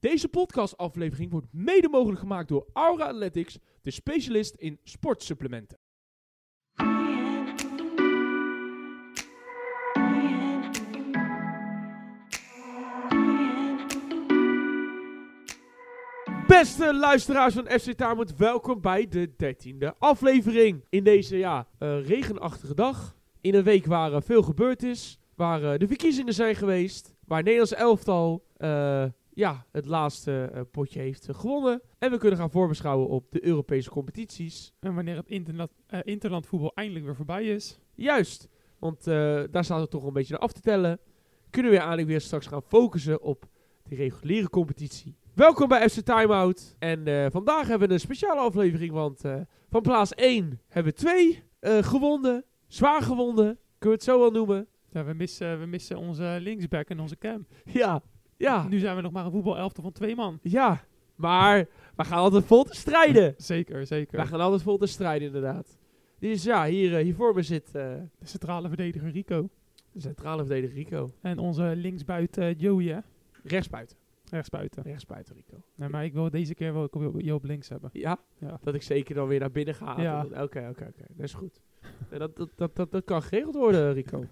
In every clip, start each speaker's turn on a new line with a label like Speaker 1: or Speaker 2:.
Speaker 1: Deze podcastaflevering wordt mede mogelijk gemaakt door Aura Athletics, de specialist in sportsupplementen. Beste luisteraars van FC Taarmond, welkom bij de 13e aflevering. In deze ja, eh, regenachtige dag, in een week waar eh, veel gebeurd is, waar eh, de verkiezingen zijn geweest, waar het Nederlands elftal eh, ja, het laatste eh, potje heeft eh, gewonnen. En we kunnen gaan voorbeschouwen op de Europese competities.
Speaker 2: En wanneer het interna- eh, interlandvoetbal eindelijk weer voorbij is.
Speaker 1: Juist, want eh, daar staat het toch een beetje naar af te tellen. Kunnen we eigenlijk weer straks gaan focussen op de reguliere competitie. Welkom bij FC Timeout. En eh, vandaag hebben we een speciale aflevering, want eh, van plaats 1 hebben we twee eh, gewonden. Zwaar gewonden, kunnen we het zo wel noemen.
Speaker 2: Ja, we, missen, we missen onze linksback en onze cam.
Speaker 1: Ja, ja,
Speaker 2: Nu zijn we nog maar een voetbalelfte van twee man.
Speaker 1: ja. Maar we gaan altijd vol te strijden.
Speaker 2: Zeker, zeker.
Speaker 1: We gaan altijd vol te strijden, inderdaad. Dus ja, hier, eh, hier voor me zit eh,
Speaker 2: De centrale verdediger Rico.
Speaker 1: de centrale verdediger Rico.
Speaker 2: En onze linksbuiten eh, Joey, hè?
Speaker 1: Rechtsbuiten,
Speaker 2: Rechtsbuiten.
Speaker 1: rechtsbuiten Rico.
Speaker 2: Nee, maar ik wil deze keer wel Joop- Joop links hebben.
Speaker 1: Ja?
Speaker 2: Ja.
Speaker 1: Dat ik zeker dan weer naar binnen ga.
Speaker 2: Ja.
Speaker 1: Dat- Oké, oké, oké. Dat is goed. En dat, dat, dat, dat, dat kan geregeld worden, Rico.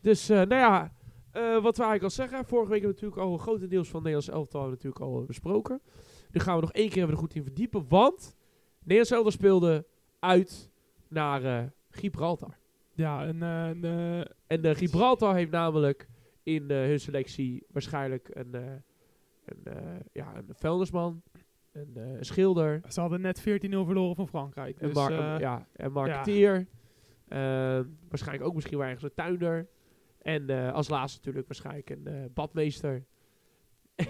Speaker 1: dus, eh, nou ja, eh, wat we eigenlijk al zeggen. Vorige week hebben we natuurlijk al een grotendeels van Nederlands elftal hebben we natuurlijk al eh, besproken. Nu gaan we nog één keer even er goed in verdiepen. Want Nederlands elftal speelde uit naar eh, Gibraltar.
Speaker 2: Ja, en eh, en, eh,
Speaker 1: En eh, Gibraltar heeft namelijk in eh, hun selectie waarschijnlijk een, eh, een, eh, ja, een vuilnisman, een, eh, een schilder,
Speaker 2: ze hadden net 14-0 verloren van Frankrijk.
Speaker 1: En,
Speaker 2: Dus,
Speaker 1: mar-
Speaker 2: eh,
Speaker 1: ja, en marketeer. Ehm, waarschijnlijk ook misschien wel ergens een tuinder. En eh, als laatste natuurlijk waarschijnlijk een eh, badmeester.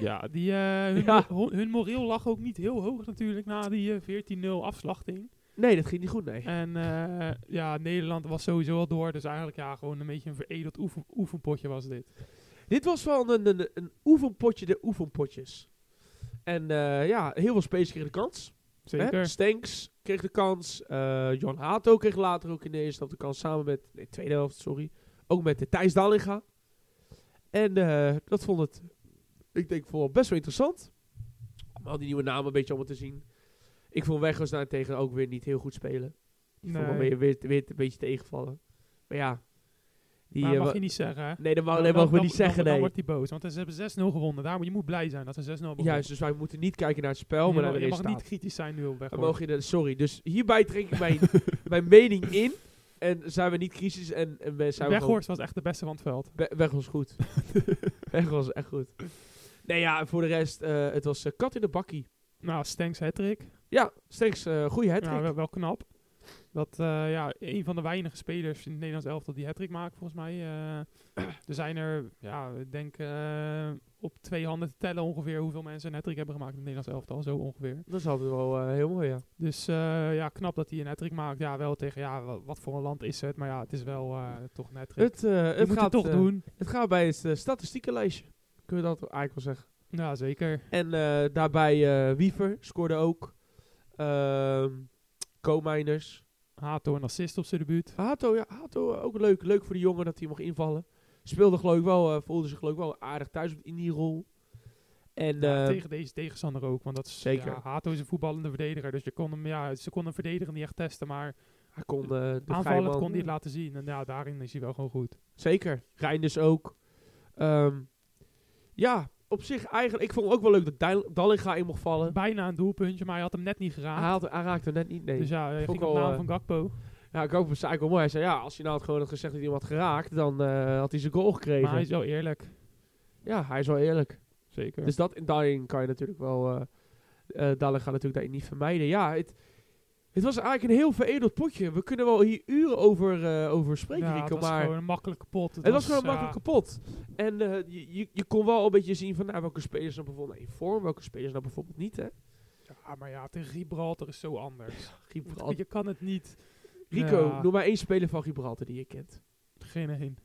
Speaker 2: ja, die, eh, hun,
Speaker 1: Ja.
Speaker 2: hun, hun moreel lag ook niet heel hoog natuurlijk na die eh, 14-0 afslachting.
Speaker 1: Nee, dat ging niet goed, nee.
Speaker 2: En eh, ja, Nederland was sowieso al door. Dus eigenlijk ja, gewoon een beetje een veredeld oefen, oefenpotje was dit.
Speaker 1: Dit was wel een, een, een oefenpotje de oefenpotjes. En eh, ja, heel veel spelers kregen de kans. hè.
Speaker 2: Zeker.
Speaker 1: Stenks kreeg de kans. eh John Hato kreeg later ook in de eerste helft de kans samen met... Nee, tweede helft, sorry. Ook met de Thijs Dallinga. En eh, dat vond het, ik denk, vooral best wel interessant. Om al die nieuwe namen een beetje allemaal te zien. Ik vond Weghorst daarentegen ook weer niet heel goed spelen. Ik vond hem
Speaker 2: Nee.
Speaker 1: weer, weer, weer een beetje tegenvallen. Maar ja. Die,
Speaker 2: maar
Speaker 1: eh,
Speaker 2: mag
Speaker 1: wa-
Speaker 2: je niet zeggen. hè?
Speaker 1: nee, dat mag,
Speaker 2: Dan-
Speaker 1: nee,
Speaker 2: dan-
Speaker 1: mogen we
Speaker 2: dan-
Speaker 1: niet zeggen,
Speaker 2: Dan,
Speaker 1: nee.
Speaker 2: dan wordt hij boos. Want ze hebben 6-0 gewonnen. Daar, moet- je moet blij zijn dat ze 6-0 hebben
Speaker 1: Juist, dus wij moeten niet kijken naar het spel, maar naar de
Speaker 2: je mag
Speaker 1: resultaten.
Speaker 2: niet kritisch zijn nu op weg.
Speaker 1: We mogen je, sorry, dus hierbij trek ik mijn, mijn mening in. En zijn we niet crisis en, en we- zijn we gewoon-
Speaker 2: Weghorst was echt de beste van het veld.
Speaker 1: Be- Weg was goed. Weg was echt goed. Nee ja, voor de rest, eh, het was eh, kat in de bakkie.
Speaker 2: Nou, Stenks hat-trick.
Speaker 1: Ja, steeds eh goede hat
Speaker 2: Nou, wel, wel knap. Dat, eh, ja, een van de weinige spelers in het Nederlands elftal die hat maakt, volgens mij. Eh, er zijn er, ja, ik denk eh, op twee handen te tellen ongeveer hoeveel mensen een hat hebben gemaakt in het Nederlands elftal. Zo ongeveer.
Speaker 1: Dat is altijd wel eh, heel mooi, ja.
Speaker 2: Dus eh, ja, knap dat hij een hat maakt. Ja, wel tegen, ja, wa- wat, voor een land is het? Maar ja, het is wel eh, toch een hat
Speaker 1: Het, eh,
Speaker 2: Je
Speaker 1: het,
Speaker 2: moet
Speaker 1: gaat,
Speaker 2: het toch
Speaker 1: eh,
Speaker 2: doen.
Speaker 1: het gaat bij het eh, statistiekenlijstje. Kunnen we dat eigenlijk wel zeggen.
Speaker 2: Ja, zeker.
Speaker 1: En eh, daarbij eh, Wiever scoorde ook. Ehm Co-miners.
Speaker 2: Hato een assist op zijn debuut.
Speaker 1: Hato, ja, Hato eh, ook leuk. Leuk voor de jongen dat hij mocht invallen. Speelde geloof ik wel, eh, voelde zich geloof ik wel aardig thuis in die rol. En
Speaker 2: Ja,
Speaker 1: eh,
Speaker 2: tegen deze tegenstander ook. Want dat is,
Speaker 1: Zeker.
Speaker 2: ja, Hato is een voetballende verdediger. Dus je kon hem, ja, ze konden hem verdedigen niet echt testen. Maar
Speaker 1: hij kon eh de
Speaker 2: aanvallend
Speaker 1: vrijman-
Speaker 2: kon hij het laten zien. En ja, daarin is hij wel gewoon goed.
Speaker 1: Zeker. Reinders ook. Ehm, ja, op zich eigenlijk. Ik vond ook wel leuk dat Dal- Dallinga in mocht vallen.
Speaker 2: Bijna een doelpuntje, maar hij had hem net niet geraakt.
Speaker 1: Hij, haalde- hij raakte net niet. Nee.
Speaker 2: dus ja, hij
Speaker 1: Ook Ah,
Speaker 2: ging
Speaker 1: wel,
Speaker 2: op naam
Speaker 1: eh,
Speaker 2: van Gakpo.
Speaker 1: ja, ik ook. Het eigenlijk wel mooi. Hij zei ja, als hij nou had gewoon had gezegd dat hij hem had geraakt, dan eh, had hij zijn goal gekregen.
Speaker 2: Maar hij is wel eerlijk.
Speaker 1: Ja, hij is wel eerlijk.
Speaker 2: Zeker.
Speaker 1: Dus dat, daarin kan je natuurlijk wel. eh eh, Dallinga natuurlijk daarin niet vermijden. Ja, het, het was eigenlijk een heel veredeld potje. We kunnen wel hier uren over, eh, over spreken,
Speaker 2: ja,
Speaker 1: Rico.
Speaker 2: het was
Speaker 1: Maar
Speaker 2: gewoon een makkelijke pot.
Speaker 1: Het was gewoon
Speaker 2: ja,
Speaker 1: makkelijk kapot. En eh, je, je, je kon wel een beetje zien van nou, welke spelers nou bijvoorbeeld in vorm, welke spelers nou bijvoorbeeld niet. Hè?
Speaker 2: Ja, maar ja, tegen Gibraltar is zo anders.
Speaker 1: Gibraltar.
Speaker 2: Je kan het niet.
Speaker 1: Rico,
Speaker 2: Ja.
Speaker 1: noem maar één speler van Gibraltar die je kent.
Speaker 2: Geen heen.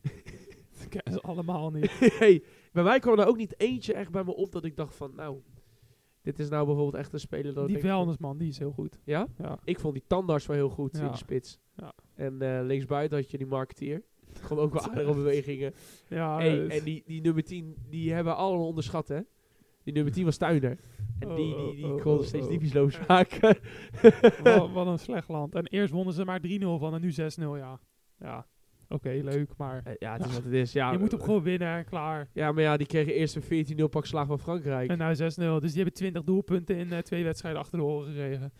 Speaker 2: Dat kennen ze allemaal niet.
Speaker 1: hey, bij mij kwam er nou ook niet eentje echt bij me op dat ik dacht van nou, dit is nou bijvoorbeeld echt een speler. Dat ik
Speaker 2: Die
Speaker 1: denk van-
Speaker 2: vuilnisman, die is heel goed.
Speaker 1: Ja?
Speaker 2: Ja.
Speaker 1: Ik vond die tandarts wel heel goed in
Speaker 2: Ja.
Speaker 1: de spits.
Speaker 2: Ja.
Speaker 1: En eh, linksbuiten had je die marketeer. Gewoon ook wel aardige bewegingen.
Speaker 2: Ja,
Speaker 1: Hey,
Speaker 2: eh,
Speaker 1: en die, die nummer 10, die hebben we allemaal onderschat hè. Die nummer 10 was Tuinder. En
Speaker 2: Oh,
Speaker 1: die,
Speaker 2: oh,
Speaker 1: die, die
Speaker 2: oh,
Speaker 1: kon
Speaker 2: oh,
Speaker 1: nog steeds
Speaker 2: oh.
Speaker 1: diepjesloos maken.
Speaker 2: wat, wat een slecht land. En eerst wonnen ze maar 3-0 van en nu 6-0, ja. Ja, oké, leuk, maar
Speaker 1: Eh, ja, het is wat het is. Ja, eh,
Speaker 2: je moet hem gewoon winnen en klaar.
Speaker 1: ja, maar ja, die kregen eerst een 14-0 pak slaag van Frankrijk.
Speaker 2: En nou 6-0, dus die hebben 20 doelpunten in eh, twee wedstrijden achter de oren gekregen.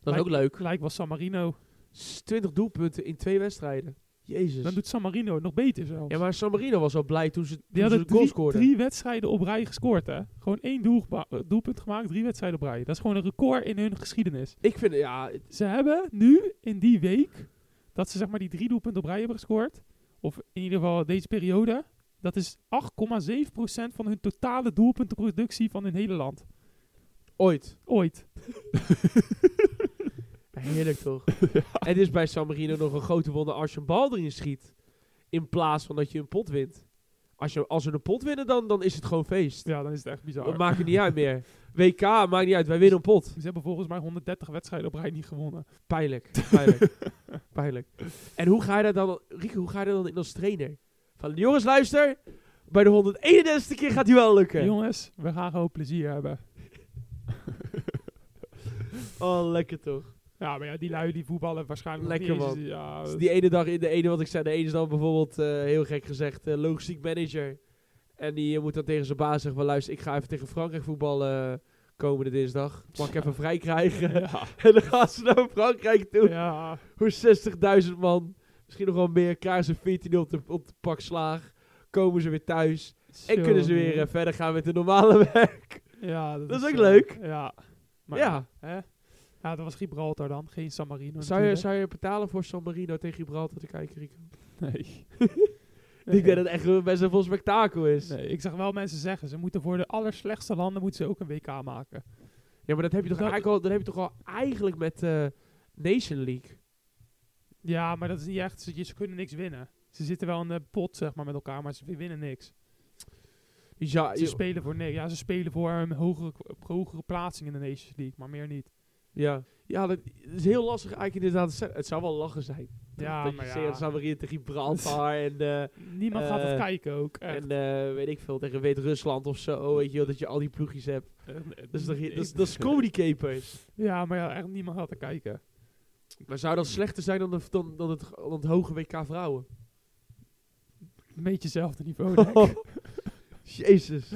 Speaker 1: dat is ook leuk.
Speaker 2: Gelijk was San Marino.
Speaker 1: S- 20 doelpunten in twee wedstrijden. Jezus.
Speaker 2: Dan doet San Marino het nog beter zelfs.
Speaker 1: Dus- ja, maar San Marino was al blij toen ze,
Speaker 2: Die
Speaker 1: toen ze de
Speaker 2: hadden
Speaker 1: goal
Speaker 2: drie,
Speaker 1: scoorden.
Speaker 2: drie wedstrijden op rij gescoord, hè. Gewoon één doel, eh, doelpunt gemaakt, drie wedstrijden op rij. Dat is gewoon een record in hun geschiedenis.
Speaker 1: Ik vind, ja, het-
Speaker 2: Ze hebben nu in die week dat ze zeg maar die drie doelpunten op rij hebben gescoord. Of in ieder geval deze periode. Dat is 8,7% van hun totale doelpuntenproductie van hun hele land.
Speaker 1: ooit.
Speaker 2: Ooit.
Speaker 1: Heerlijk toch? En het is bij San Marino nog een grote wonder als je een bal erin schiet. In plaats van dat je een pot wint. Als, je, als we een pot winnen, dan, dan is het gewoon feest.
Speaker 2: Ja, dan is het echt bizar.
Speaker 1: Het maakt het niet uit meer. WK, maakt niet uit. Wij winnen een pot.
Speaker 2: ze hebben volgens mij 130 wedstrijden op rij niet gewonnen.
Speaker 1: Pijnlijk. Pijnlijk. pijnlijk. En hoe ga je daar dan, Rieke, hoe ga je daar dan in als trainer? Van, jongens, luister. Bij de 131ste keer gaat die wel lukken.
Speaker 2: Jongens, we gaan gewoon plezier hebben.
Speaker 1: Oh, lekker toch.
Speaker 2: Ja, maar ja, die lui die voetballen waarschijnlijk nog
Speaker 1: Lekker,
Speaker 2: niet eens-
Speaker 1: man.
Speaker 2: Ja,
Speaker 1: Dus die ene dag in de ene wat ik zei. De ene is dan bijvoorbeeld, eh, heel gek gezegd, eh, logistiek manager. En die eh, moet dan tegen zijn baas zeggen van, luister, ik ga even tegen Frankrijk voetballen eh, komende dinsdag. Mag ik even vrij krijgen?
Speaker 2: ja,
Speaker 1: En dan gaan ze naar Frankrijk toe.
Speaker 2: ja.
Speaker 1: Voor 60.000 man. Misschien nog wel meer. Krijgen ze 14 op de, op de pak slaag. Komen ze weer thuis. En
Speaker 2: Zo,
Speaker 1: kunnen ze weer eh, verder gaan met de normale werk.
Speaker 2: Ja, dat,
Speaker 1: Dat is ook
Speaker 2: eh,
Speaker 1: leuk.
Speaker 2: Ja. Maar
Speaker 1: ja.
Speaker 2: Hè? Ja, dat was Gibraltar dan, geen San Marino.
Speaker 1: Zou je,
Speaker 2: natuurlijk.
Speaker 1: zou je betalen voor San Marino tegen Gibraltar te kijken, Rico?
Speaker 2: Nee.
Speaker 1: Ik denk dat het echt wel best wel een spektakel is.
Speaker 2: Nee, ik zag wel mensen zeggen, ze moeten voor de allerslechtste landen moeten ze ook een WK maken.
Speaker 1: Ja, maar dat heb je toch,
Speaker 2: Dat-
Speaker 1: eigenlijk, al, dat heb je toch al eigenlijk met eh, Nation League.
Speaker 2: Ja, maar dat is niet echt, ze, ze kunnen niks winnen. Ze zitten wel in de pot, zeg maar, met elkaar, maar ze winnen niks.
Speaker 1: Dus ja,
Speaker 2: Ze
Speaker 1: joh.
Speaker 2: spelen voor niks. Ja, ze spelen voor een hogere, hogere plaatsing in de Nations League, maar meer niet.
Speaker 1: ja. ja dat dat is heel lastig eigenlijk inderdaad. te zeggen. Het zou wel lachen zijn.
Speaker 2: Ja,
Speaker 1: dat
Speaker 2: maar
Speaker 1: je
Speaker 2: ja.
Speaker 1: tegen San Marino tegen Gibraltar en... eh,
Speaker 2: Niemand gaat
Speaker 1: Eh,
Speaker 2: dat kijken ook. echt.
Speaker 1: En eh, weet ik veel, tegen Wit-Rusland of zo, weet je wel, dat je al die ploegjes hebt.
Speaker 2: Eh,
Speaker 1: Dat is, toch,
Speaker 2: nee.
Speaker 1: dat is, dat is comedy capers.
Speaker 2: Ja, maar ja, echt niemand gaat er kijken.
Speaker 1: Maar zou dat slechter zijn dan, de, dan, dan, het, dan het hoge WK vrouwen?
Speaker 2: Een beetje hetzelfde niveau, denk ik.
Speaker 1: Jezus.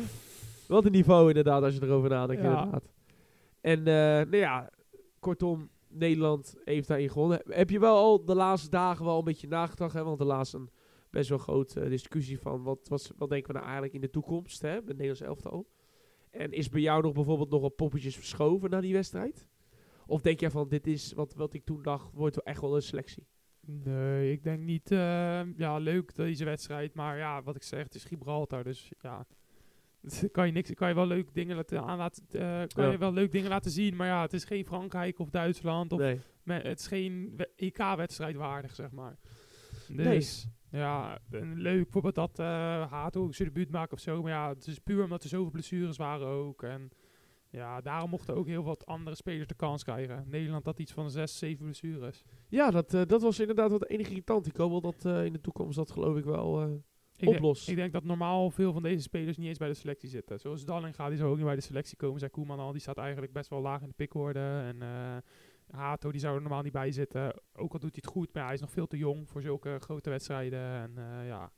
Speaker 1: Wat een niveau inderdaad, als je erover nadenkt
Speaker 2: Ja.
Speaker 1: inderdaad. En eh, nou ja, kortom, Nederland heeft daarin gewonnen. Heb je wel al de laatste dagen wel een beetje nagedacht, hè? want de laatste een best wel grote eh, discussie van wat, wat, wat denken we nou eigenlijk in de toekomst, hè, met Nederlands elftal. En is bij jou nog bijvoorbeeld nog wat poppetjes verschoven na die wedstrijd? Of denk jij van, dit is wat, wat ik toen dacht, wordt wel echt wel een selectie?
Speaker 2: Nee, ik denk niet. eh, ja, leuk deze wedstrijd. Maar ja, wat ik zeg, het is Gibraltar. Dus ja. Kan je, niks, kan je wel leuk dingen laten aan laten, eh, kan
Speaker 1: Ja.
Speaker 2: je wel leuk dingen laten zien. Maar ja, het is geen Frankrijk of Duitsland. Of
Speaker 1: nee.
Speaker 2: me- het is geen we- EK-wedstrijd waardig, zeg maar.
Speaker 1: Nee.
Speaker 2: Dus ja, en leuk bijvoorbeeld dat eh Hato ook zijn debuut maakt of zo. Maar ja, het is puur omdat er zoveel blessures waren ook. En ja, daarom mochten ook heel wat andere spelers de kans krijgen. Nederland had iets van zes, zeven blessures.
Speaker 1: Ja, dat, eh, dat was inderdaad wat enig irritant. Ik hoop wel dat eh, in de toekomst dat geloof ik wel... eh,
Speaker 2: Ik denk-
Speaker 1: Oplos.
Speaker 2: Ik denk dat normaal veel van deze spelers niet eens bij de selectie zitten. Zoals Dallinga, die zou ook niet bij de selectie komen. Zijn Koeman al, die staat eigenlijk best wel laag in de pickorde. En eh, Hato, die zou er normaal niet bij zitten. Ook al doet hij het goed, maar ja, hij is nog veel te jong voor zulke grote wedstrijden. En, eh, ja,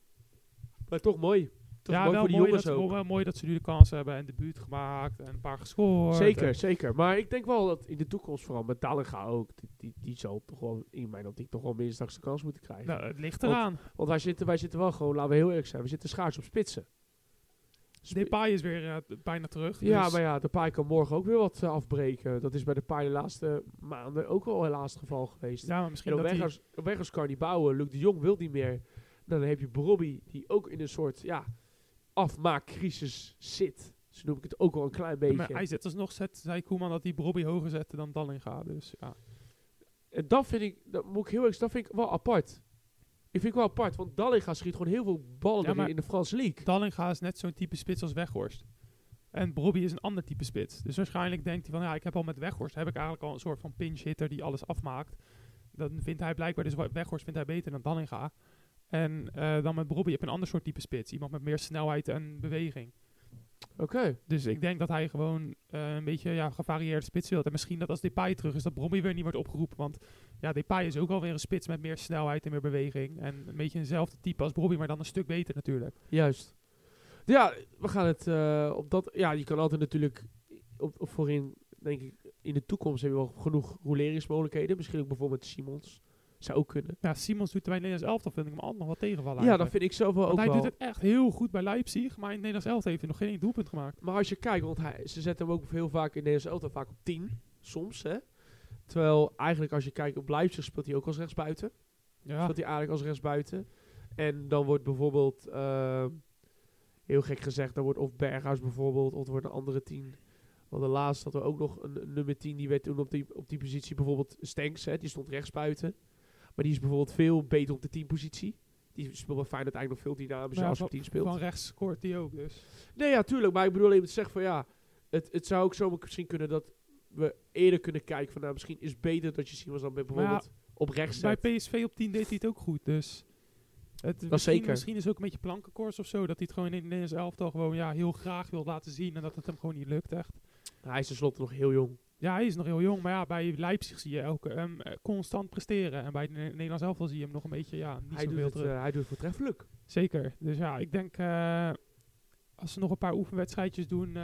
Speaker 1: Maar toch mooi. Toch
Speaker 2: ja
Speaker 1: mooi voor de
Speaker 2: mooi
Speaker 1: jongens
Speaker 2: dat, ze-
Speaker 1: ook.
Speaker 2: wel mooi dat ze nu de kans hebben en debuut gemaakt en een paar gescoord.
Speaker 1: Zeker, zeker. Maar ik denk wel dat in de toekomst, vooral met Dallinga ook, die, die, die zal toch wel in mijn optiek toch wel minstens straks de kans moeten
Speaker 2: En,
Speaker 1: krijgen.
Speaker 2: nou, het ligt eraan.
Speaker 1: Want wij zitten, wij zitten wel gewoon, laten we heel eerlijk zijn, we zitten schaars op spitsen. Sp-
Speaker 2: Depay is weer eh, t- bijna terug.
Speaker 1: ja,
Speaker 2: dus-
Speaker 1: maar ja, de paai kan morgen ook weer wat eh, afbreken. Dat is bij de paai de laatste maanden ook al helaas het geval geweest.
Speaker 2: ja, maar
Speaker 1: En
Speaker 2: misschien
Speaker 1: op
Speaker 2: dat hij...
Speaker 1: Weghorst- op Weghorst kan niet bouwen. Luc de Jong wil niet meer. Nou, dan heb je Robbie, die ook in een soort ja, afmaakcrisis zit. Zo noem ik het ook wel een klein beetje.
Speaker 2: Maar hij zet alsnog, zet, zei Koeman, dat hij Robbie hoger zette dan Dallinga. Dus ja.
Speaker 1: En dat vind ik, dat moet ik heel erg, dat vind ik wel apart. Ik vind het wel apart, want Dallinga schiet gewoon heel veel ballen
Speaker 2: Ja,
Speaker 1: erin
Speaker 2: maar-
Speaker 1: in de Franse League.
Speaker 2: Dallinga is net zo'n type spits als Weghorst. En Brobby is een ander type spits. Dus waarschijnlijk denkt hij van, ja, ik heb al met Weghorst, heb ik eigenlijk al een soort van pinch hitter die alles afmaakt. Dan vindt hij blijkbaar, dus Weghorst vindt hij beter dan Dallinga. En eh, dan met Brobby heb je een ander soort type spits. Iemand met meer snelheid en beweging.
Speaker 1: Oké.
Speaker 2: Dus ik denk dat hij gewoon eh, een beetje ja, gevarieerde spits wil. En misschien dat als Depay terug is, dat Bromby weer niet wordt opgeroepen. Want ja, Depay is ook alweer een spits met meer snelheid en meer beweging. En een beetje eenzelfde type als Bromby, maar dan een stuk beter natuurlijk.
Speaker 1: Juist. Ja, we gaan het eh, op dat... Ja, je kan altijd natuurlijk op, op voorin, denk ik, in de toekomst hebben we wel genoeg roleringsmogelijkheden. Misschien ook bijvoorbeeld Simons. Zou ook kunnen.
Speaker 2: Ja, Simons doet bij Nederlands elftal, vind ik hem altijd nog wat tegenvallen.
Speaker 1: Ja, dat
Speaker 2: eigenlijk.
Speaker 1: vind ik zelf wel ook
Speaker 2: Want hij
Speaker 1: wel.
Speaker 2: doet het echt heel goed bij Leipzig, maar in het Nederlands elftal heeft hij nog geen één doelpunt gemaakt.
Speaker 1: Maar als je kijkt, want hij, ze zetten hem ook heel vaak in Nederlandse auto vaak op 10. Soms, hè. Terwijl eigenlijk als je kijkt op Leipzig speelt hij ook als rechtsbuiten.
Speaker 2: Ja,
Speaker 1: Speelt hij eigenlijk als rechtsbuiten. En dan wordt bijvoorbeeld, ehm, heel gek gezegd, dan wordt of Berghuis bijvoorbeeld, of er wordt een andere 10. Want de laatste hadden we ook nog een, een nummer 10, die werd toen op die, op die positie bijvoorbeeld Stenks, hè, die stond rechtsbuiten. Maar die is bijvoorbeeld veel beter op de 10 positie. Die speelt bij Feyenoord eigenlijk nog veel dynamischer
Speaker 2: Ja,
Speaker 1: als hij op 10 speelt.
Speaker 2: van rechts scoort hij ook dus.
Speaker 1: Nee, ja, tuurlijk. Maar ik bedoel even te zeggen van ja, het, het zou ook zomaar misschien kunnen dat we eerder kunnen kijken van nou, misschien is beter dat je Simons dan bij-
Speaker 2: Maar ja,
Speaker 1: bijvoorbeeld op rechts
Speaker 2: Bij
Speaker 1: zet.
Speaker 2: PSV op 10 deed hij het ook goed, dus... Het, misschien,
Speaker 1: zeker.
Speaker 2: misschien is ook een beetje plankenkoorts of zo. Dat hij het gewoon in het Nederlands elftal gewoon ja, heel graag wil laten zien. En dat het hem gewoon niet lukt echt.
Speaker 1: Hij is tenslotte nog heel jong.
Speaker 2: Ja, hij is nog heel jong. Maar ja, bij Leipzig zie je elke, hem eh, constant presteren. En bij het Ne- Nederlands elftal zie je hem nog een beetje ja, niet
Speaker 1: Hij doet,
Speaker 2: zoveel
Speaker 1: het,
Speaker 2: terug.
Speaker 1: eh, hij doet het voortreffelijk.
Speaker 2: Zeker. Dus ja, ik denk eh, als ze nog een paar oefenwedstrijdjes doen eh,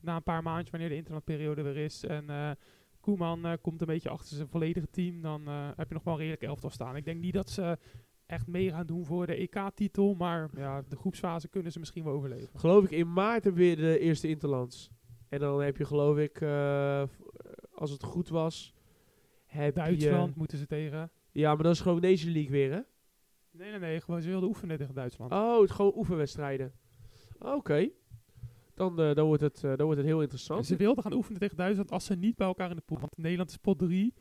Speaker 2: na een paar maandjes, wanneer de internetperiode weer is. En eh Koeman eh, komt een beetje achter zijn volledige team, dan eh, heb je nog wel een redelijk elftal staan. Ik denk niet dat ze echt mee gaan doen voor de EK-titel, maar ja, de groepsfase kunnen ze misschien wel overleven.
Speaker 1: Geloof ik, in maart hebben we weer de eerste Interlands. En dan heb je geloof ik, eh, v- als het goed was, heb
Speaker 2: Duitsland
Speaker 1: je... moeten.
Speaker 2: moeten ze tegen.
Speaker 1: Ja, maar dat is gewoon Nation League weer, hè?
Speaker 2: Nee, nee, nee, gewoon ze wilden oefenen tegen Duitsland.
Speaker 1: Oh, het gewoon oefenwedstrijden. Oké. Dan, eh, dan, wordt het, eh, dan wordt het heel
Speaker 2: En
Speaker 1: interessant.
Speaker 2: Ze wilden gaan oefenen tegen Duitsland als ze niet bij elkaar in de pool. Want Nederland is pot 3.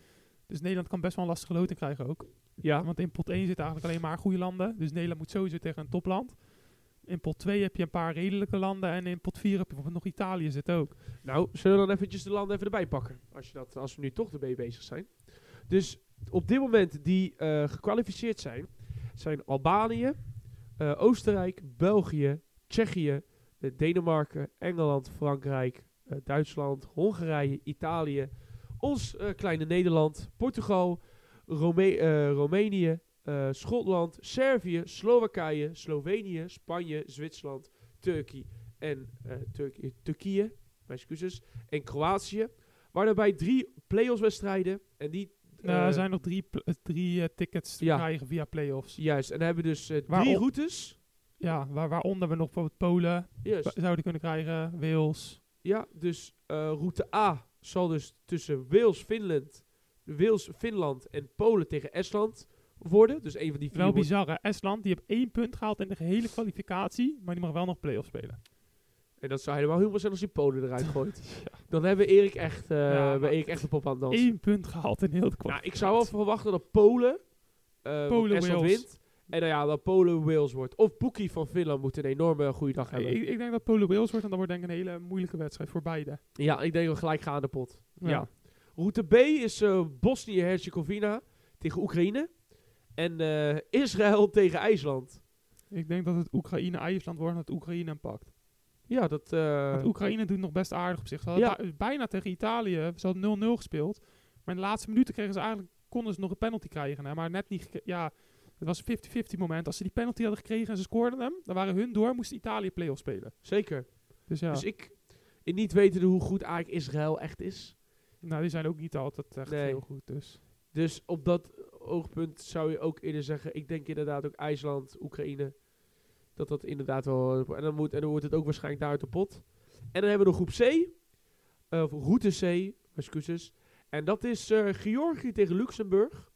Speaker 2: Dus Nederland kan best wel een lastige loting krijgen ook.
Speaker 1: Ja.
Speaker 2: Want in pot 1 zitten eigenlijk alleen maar goede landen. Dus Nederland moet sowieso tegen een topland. In pot 2 heb je een paar redelijke landen. En in pot 4 heb je bijvoorbeeld nog Italië zit ook.
Speaker 1: Nou, zullen we dan eventjes de landen even erbij pakken? Als, je dat, als we nu toch ermee bezig zijn. Dus op dit moment die eh, gekwalificeerd zijn, zijn Albanië, eh, Oostenrijk, België, Tsjechië, eh, Denemarken, Engeland, Frankrijk, eh, Duitsland, Hongarije, Italië, ons eh, kleine Nederland, Portugal, Rome- eh, Roemenië, eh, Schotland, Servië, Slowakije, Slovenië, Spanje, Zwitserland, Turkije en eh, Turk- Turkije mijn excuses, en Kroatië. Waar daarbij drie play-offs wedstrijden. En die...
Speaker 2: Nou,
Speaker 1: eh,
Speaker 2: er zijn nog drie, pl- eh, drie eh, tickets te
Speaker 1: Ja.
Speaker 2: krijgen via playoffs.
Speaker 1: Juist, en dan hebben we dus eh, drie
Speaker 2: Waarom?
Speaker 1: routes.
Speaker 2: Ja, waar, waaronder we nog bijvoorbeeld Polen
Speaker 1: Juist.
Speaker 2: wa- zouden kunnen krijgen. Wales.
Speaker 1: Ja, dus eh, route A zal dus tussen Wales, Finland, Wales, Finland en Polen tegen Estland worden. Dus een van die vier.
Speaker 2: Wel
Speaker 1: wordt-
Speaker 2: bizar hè. Estland, die heeft één punt gehaald in de gehele kwalificatie. Maar die mag wel nog playoffs spelen.
Speaker 1: En dat zou helemaal humor zijn als die Polen eruit gooit. Dan hebben we Erik echt, eh
Speaker 2: Ja,
Speaker 1: bij
Speaker 2: maar-
Speaker 1: Erik echt de pop aan het dansen.
Speaker 2: Eén punt gehaald in heel de
Speaker 1: Nou,
Speaker 2: kwalificatie.
Speaker 1: ik zou wel verwachten dat Polen, eh Polen
Speaker 2: Polen,
Speaker 1: Estland
Speaker 2: Wales.
Speaker 1: wint. En nou ja, dat Polen Wales wordt. Of Boekie van Finland moet een enorme goede dag hebben.
Speaker 2: Ik, ik denk dat Polen-Wales wordt. En dat wordt denk ik een hele moeilijke wedstrijd voor beide.
Speaker 1: Ja, ik denk wel gelijk gaan aan de pot. Ja.
Speaker 2: Ja.
Speaker 1: Route B is eh, Bosnië-Herzegovina tegen Oekraïne. En eh, Israël tegen IJsland.
Speaker 2: Ik denk dat het Oekraïne-IJsland wordt en dat Oekraïne hem pakt.
Speaker 1: Ja, dat... eh,
Speaker 2: Want Oekraïne doet nog best aardig op zich. Ze hadden
Speaker 1: Ja.
Speaker 2: bij- bijna tegen Italië, ze hadden 0-0 gespeeld. Maar in de laatste minuten kregen ze eigenlijk, konden ze nog een penalty krijgen. Hè? Maar net niet, geke- ja, het was een 50-50 moment. Als ze die penalty hadden gekregen en ze scoorden hem, dan waren hun door, moest Italië play-off spelen.
Speaker 1: zeker.
Speaker 2: Dus ja,
Speaker 1: Dus ik... In niet weten hoe goed eigenlijk Israël echt is.
Speaker 2: nou, die zijn ook niet altijd echt
Speaker 1: Nee.
Speaker 2: heel goed. Dus.
Speaker 1: Dus op dat oogpunt zou je ook eerder zeggen... Ik denk inderdaad ook IJsland, Oekraïne. Dat dat inderdaad wel... En dan, moet, en dan wordt het ook waarschijnlijk daar uit de pot. En dan hebben we nog groep C. eh, of route C, excuses. En dat is eh, Georgië tegen Luxemburg.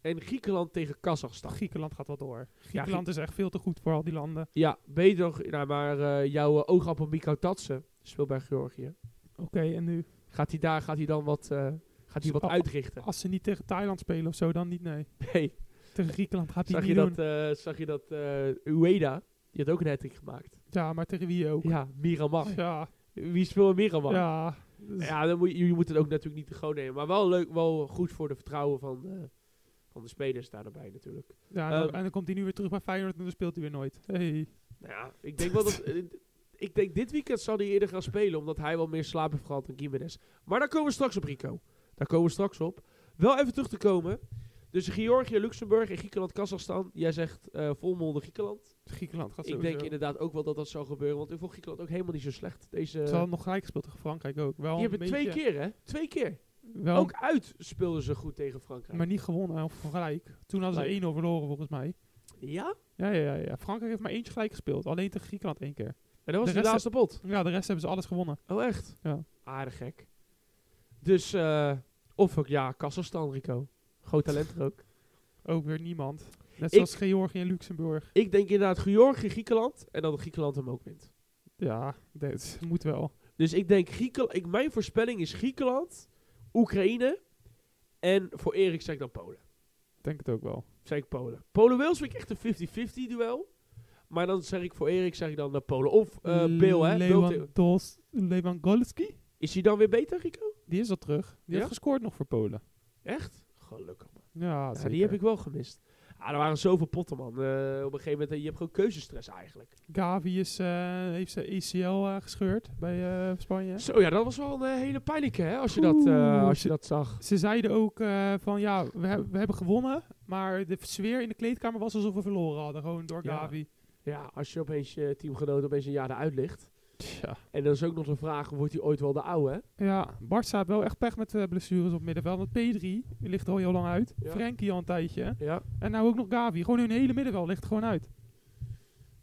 Speaker 1: En Griekenland tegen Kazachstan.
Speaker 2: Griekenland gaat wel door. Griekenland is echt veel te goed voor al die landen.
Speaker 1: Ja, beter nog, nou, maar eh, jouw eh, oogappel Mikko Tatsen speelt bij Georgië.
Speaker 2: Oké, en nu?
Speaker 1: Gaat hij daar gaat hij dan wat, eh, gaat hij
Speaker 2: Zo-
Speaker 1: wat
Speaker 2: oh,
Speaker 1: uitrichten?
Speaker 2: Als ze niet tegen Thailand spelen of zo, dan niet, Oh, nee.
Speaker 1: Nee.
Speaker 2: Tegen Griekenland gaat hij
Speaker 1: Zag
Speaker 2: niet
Speaker 1: je,
Speaker 2: doen.
Speaker 1: dat, eh, zag je dat eh, Ueda, die had ook een hattrick gemaakt.
Speaker 2: Ja, maar tegen wie ook.
Speaker 1: eh? Ja, Miramar.
Speaker 2: Ja,
Speaker 1: Wie speelt Miramar? Ja,
Speaker 2: ja. dus-
Speaker 1: dan moet, je je moet het ook natuurlijk niet te groot nemen. Maar wel leuk, wel goed voor de vertrouwen van de, van de spelers daar daarbij natuurlijk.
Speaker 2: Ja, en, dan,
Speaker 1: Ehm.
Speaker 2: en dan komt hij nu weer terug bij Feyenoord en dan speelt hij weer nooit. Hey.
Speaker 1: Nou ja, ik denk wel dat... eh, Ik denk dit weekend zal hij eerder gaan spelen, omdat hij wel meer slaap heeft gehad dan Gimenez. Maar daar komen we straks op, Rico. Daar komen we straks op. Wel even terug te komen. Dus Georgië, Luxemburg en Griekenland, Kazachstan. Jij zegt eh volmondig Griekenland.
Speaker 2: Griekenland gaat
Speaker 1: Ik
Speaker 2: sowieso.
Speaker 1: denk inderdaad ook wel dat dat zal gebeuren, want ik vond Griekenland ook helemaal niet zo slecht. Deze,
Speaker 2: Ze hadden nog gelijk gespeeld tegen Frankrijk ook. Wel
Speaker 1: eh, die
Speaker 2: een
Speaker 1: hebben twee
Speaker 2: beetje-
Speaker 1: keer, hè? Twee keer.
Speaker 2: Wel,
Speaker 1: Ook uit speelden ze goed tegen Frankrijk.
Speaker 2: maar niet gewonnen of gelijk. Toen hadden
Speaker 1: Nee.
Speaker 2: ze 1-0 verloren volgens mij.
Speaker 1: ja?
Speaker 2: Ja, ja, ja, ja. Frankrijk heeft maar eentje gelijk gespeeld. Alleen tegen Griekenland één keer.
Speaker 1: En dat was de,
Speaker 2: rest-
Speaker 1: laatste pot.
Speaker 2: Ja, de rest hebben ze alles gewonnen.
Speaker 1: Oh, echt?
Speaker 2: Ja.
Speaker 1: Aardig gek. Dus, eh, of ook, ja, Kazachstan, Rico. Groot talent er ook.
Speaker 2: Ook weer niemand. Net
Speaker 1: Ik-
Speaker 2: zoals Georgië en Luxemburg.
Speaker 1: Ik denk inderdaad Georgië, Griekenland en dat Griekenland hem ook wint.
Speaker 2: Ja, dat moet wel.
Speaker 1: Dus ik denk Griekenland. Ik, mijn voorspelling is Griekenland, Oekraïne en voor Erik zeg ik dan Polen.
Speaker 2: Ik Denk het ook wel.
Speaker 1: Zeg ik Polen. Polen-Wales vind ik echt een 50-50 duel. Maar dan zeg ik voor Erik zeg ik dan eh, Polen. Of eh Beel, hè? Bale te-
Speaker 2: Lewandowski. Lewandowski?
Speaker 1: is hij dan weer beter, Rico?
Speaker 2: Die is al terug. Die
Speaker 1: Ja?
Speaker 2: heeft gescoord nog voor Polen.
Speaker 1: Echt? Gelukkig. man.
Speaker 2: Ja,
Speaker 1: Ja,
Speaker 2: zeker.
Speaker 1: die heb ik wel gemist. Ah, er waren zoveel potten, man. Eh, op een gegeven moment, eh, je hebt gewoon keuzestress eigenlijk.
Speaker 2: Gavi is, eh, heeft zijn ACL eh, gescheurd bij eh, Spanje.
Speaker 1: Zo, ja, dat was wel een eh, hele pijnlijke, hè? Als je, dat, eh,
Speaker 2: Oeh,
Speaker 1: als je
Speaker 2: ze-
Speaker 1: dat zag.
Speaker 2: Ze zeiden ook eh, van ja, we, heb- we hebben gewonnen. Maar de sfeer in de kleedkamer was alsof we verloren hadden. Gewoon door
Speaker 1: Ja.
Speaker 2: Gavi.
Speaker 1: Ja, als je opeens je teamgenoot opeens een jaar eruit ligt.
Speaker 2: Tja.
Speaker 1: En dan is ook nog de vraag, wordt hij ooit wel de oude? hè?
Speaker 2: Ja, Barca heeft wel echt pech met eh, blessures op middenveld. Want P3 die ligt er al heel lang uit.
Speaker 1: Ja.
Speaker 2: Frenkie al een tijdje.
Speaker 1: Ja.
Speaker 2: En nou ook nog Gavi. Gewoon hun hele middenveld ligt er gewoon uit.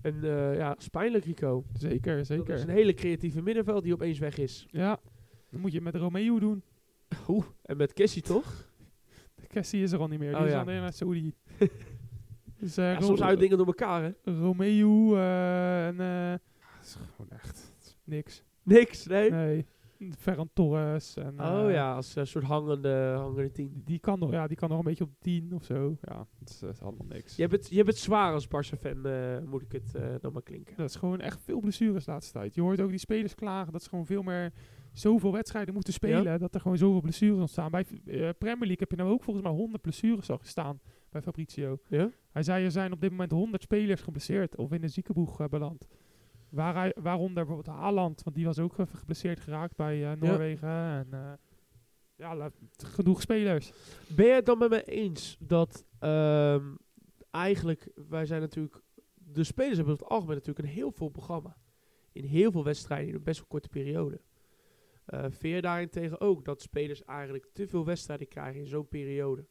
Speaker 1: En eh, ja, is pijnlijk Rico.
Speaker 2: Zeker,
Speaker 1: Dat
Speaker 2: zeker.
Speaker 1: is een hele creatieve middenveld die opeens weg is.
Speaker 2: Ja, dan moet je het met Romeo doen.
Speaker 1: Oeh. En met Cassie toch?
Speaker 2: De Cassie is er al niet meer. Die
Speaker 1: Oh,
Speaker 2: is
Speaker 1: ja.
Speaker 2: aan de naar Saudi. dus, eh,
Speaker 1: Ja,
Speaker 2: Ro-
Speaker 1: soms houden dingen door elkaar, hè?
Speaker 2: Romeo eh, en... eh, dat is gewoon echt niks.
Speaker 1: Niks, nee.
Speaker 2: Nee. Ferran Torres. En, eh,
Speaker 1: Oh ja, als een soort hangende, hangende tien.
Speaker 2: Die kan, nog, ja, die kan nog een beetje op 10 of zo. Ja, dat is, dat is allemaal niks.
Speaker 1: Je hebt het, je hebt het zwaar als Barca-fan, eh, moet ik het eh, dan maar klinken.
Speaker 2: Dat is gewoon echt veel blessures de laatste tijd. Je hoort ook die spelers klagen dat ze gewoon veel meer zoveel wedstrijden moeten spelen. Dat er gewoon zoveel blessures ontstaan. Bij eh, Premier League heb je nou ook volgens mij 100 blessures al gestaan bij Fabrizio.
Speaker 1: Ja?
Speaker 2: Hij zei er zijn op dit moment 100 spelers geblesseerd of in de ziekenboeg eh, beland. Waar hij, waaronder bijvoorbeeld Haaland, want die was ook even geblesseerd geraakt bij eh, Noorwegen. En, eh, ja, la- genoeg spelers.
Speaker 1: Ben jij het dan met mij eens dat ehm, eigenlijk, wij zijn natuurlijk, de spelers hebben over het algemeen natuurlijk een heel veel programma. In heel veel wedstrijden in een best wel korte periode. Eh veer daarentegen ook dat spelers eigenlijk te veel wedstrijden krijgen in zo'n periode.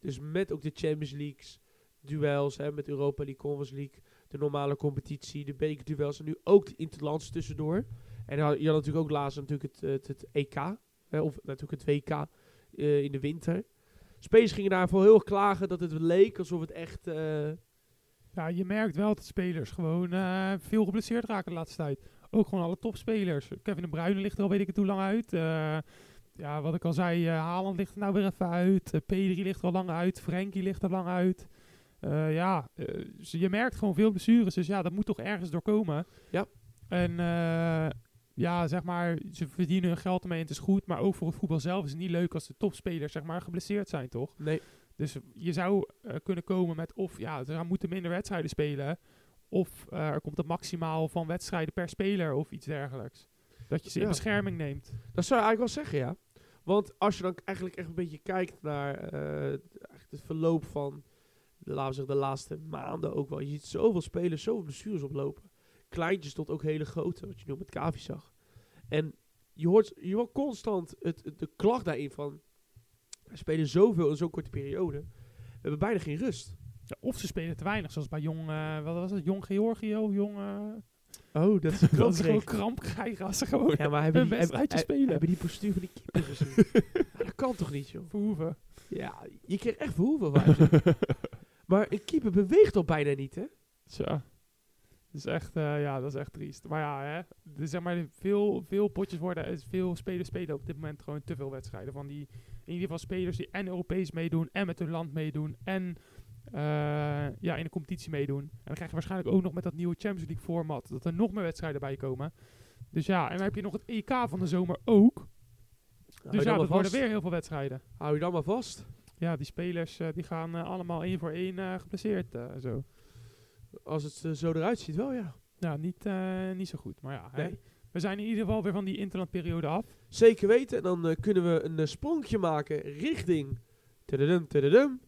Speaker 1: Dus met ook de Champions Leagues, duels, hè, met Europa League, Conference League, de normale competitie, de bekerduels en nu ook de interlands tussendoor. En dan- je had natuurlijk ook laatst natuurlijk het, het, het EK, hè, of natuurlijk het WK eh, in de winter. Spelers gingen daarvoor heel erg klagen dat het leek alsof het echt... eh,
Speaker 2: Ja, je merkt wel dat spelers gewoon eh, veel geblesseerd raken de laatste tijd. Ook gewoon alle topspelers. Kevin de Bruyne ligt er al weet ik het hoe lang uit. Eh, ja, wat ik al zei, eh, Haaland ligt er nou weer even uit. Eh, Pedri ligt er al lang uit. Frenkie ligt er lang uit. Eh, ja, eh, dus je merkt gewoon veel blessures. Dus ja, dat moet toch ergens doorkomen.
Speaker 1: Ja.
Speaker 2: En eh, ja, zeg maar, ze verdienen hun geld ermee en het is goed. Maar ook voor het voetbal zelf is het niet leuk als de topspelers zeg maar geblesseerd zijn, toch?
Speaker 1: nee,
Speaker 2: Dus je zou eh, kunnen komen met of ja, ze moeten minder wedstrijden spelen. Of eh, er komt een maximaal van wedstrijden per speler of iets dergelijks. Dat je ze in
Speaker 1: Ja.
Speaker 2: bescherming neemt.
Speaker 1: dat zou je eigenlijk wel zeggen, ja. Want als je dan eigenlijk echt een beetje kijkt naar eh, eigenlijk het verloop van, laten we zeggen, de laatste maanden ook wel. Je ziet zoveel spelers, zoveel blessures oplopen. Kleintjes tot ook hele grote, wat je nu met Kavi zag. En je hoort, je hoort constant het, het- de klacht daarin van, er spelen zoveel in zo'n korte periode. We hebben bijna geen rust.
Speaker 2: Ja, of ze spelen te weinig, zoals bij jong, eh, wat was het, jong Georgio, jong... eh,
Speaker 1: Oh, dat is een
Speaker 2: dat ze gewoon kramp krijgen als ze gewoon
Speaker 1: Ja, maar hebben
Speaker 2: Een
Speaker 1: die, hebben,
Speaker 2: wedstrijdje
Speaker 1: hebben-
Speaker 2: spelen.
Speaker 1: hebben die postuur van die keeper gezien? Ja, dat kan toch niet, joh?
Speaker 2: verhoeven.
Speaker 1: Ja, je kreeg echt verhoeven van. maar een keeper beweegt al bijna niet, hè?
Speaker 2: Tja. Dat is echt, eh, ja, dat is echt triest. Maar ja, hè, dus zeg maar, veel, veel potjes worden, eh, veel spelers spelen op dit moment gewoon te veel wedstrijden. Van die, in ieder geval spelers die en Europees meedoen, en met hun land meedoen, en eh, ja, in de competitie meedoen. En dan krijg je waarschijnlijk ook nog met dat nieuwe Champions League format, dat er nog meer wedstrijden bij komen. Dus ja, en dan heb je nog het EK van de zomer ook.
Speaker 1: Nou, Hou je,
Speaker 2: Dus ja,
Speaker 1: dan maar
Speaker 2: dat worden
Speaker 1: vast.
Speaker 2: weer heel veel wedstrijden.
Speaker 1: Hou je dan maar vast.
Speaker 2: Ja, die spelers eh, die gaan eh, allemaal één voor één eh geblesseerd eh, zo.
Speaker 1: Als het eh, zo eruit ziet, wel ja.
Speaker 2: Nou, niet, eh, niet zo goed. Maar ja, hè.
Speaker 1: Nee.
Speaker 2: we zijn in ieder geval weer van die interlandperiode af.
Speaker 1: Zeker weten. En dan eh, kunnen we een eh, sprongetje maken richting tududum, tududum,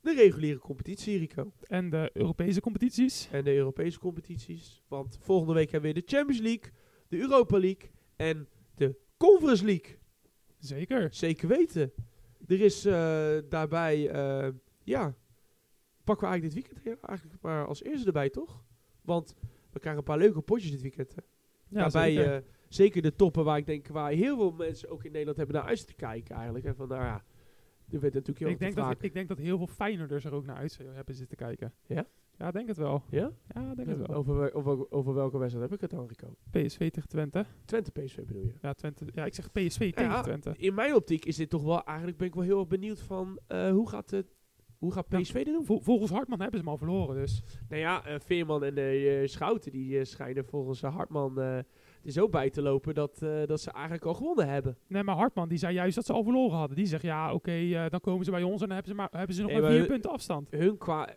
Speaker 1: de reguliere competitie, Rico.
Speaker 2: En de Europese competities.
Speaker 1: En de Europese competities. Want volgende week hebben we weer de Champions League, de Europa League en de Conference League.
Speaker 2: Zeker.
Speaker 1: Zeker weten. Er is eh, daarbij, eh, ja, pakken we eigenlijk dit weekend ja, eigenlijk maar als eerste erbij, toch? Want we krijgen een paar leuke potjes dit weekend. Hè?
Speaker 2: Ja,
Speaker 1: daarbij
Speaker 2: zeker.
Speaker 1: eh, zeker de toppen waar ik denk, waar heel veel mensen ook in Nederland hebben naar uit te kijken eigenlijk. En van, nou ja, er werd natuurlijk heel
Speaker 2: ik, denk dat,
Speaker 1: vaak.
Speaker 2: ik denk dat heel veel Feyenoorders er ook naar uit hebben zitten kijken.
Speaker 1: Ja?
Speaker 2: Ja, denk het wel.
Speaker 1: Ja? oh.
Speaker 2: Ja, denk het wel.
Speaker 1: Over, over, over welke wedstrijd heb ik het dan, Rico?
Speaker 2: PSV tegen Twente.
Speaker 1: Twente PSV bedoel je?
Speaker 2: Ja, Twente. Ja, ik zeg PSV tegen
Speaker 1: Ja,
Speaker 2: Twente.
Speaker 1: In mijn optiek is dit toch wel, eigenlijk ben ik wel heel erg benieuwd van, eh, hoe, gaat het, hoe gaat
Speaker 2: Ja.
Speaker 1: PSV dit doen?
Speaker 2: Vol- volgens Hartman hebben ze hem al verloren, dus.
Speaker 1: Nou ja, eh, Veerman en eh, eh, Schouten die eh, schijnen volgens eh, Hartman eh, er zo bij te lopen dat, eh, dat ze eigenlijk al gewonnen hebben.
Speaker 2: Nee, maar Hartman die zei juist dat ze al verloren hadden. Die zegt, ja, oké, eh, dan komen ze bij ons en dan hebben ze, maar, hebben ze nog
Speaker 1: Nee,
Speaker 2: maar
Speaker 1: maar-
Speaker 2: vier punten afstand.
Speaker 1: Hun qua,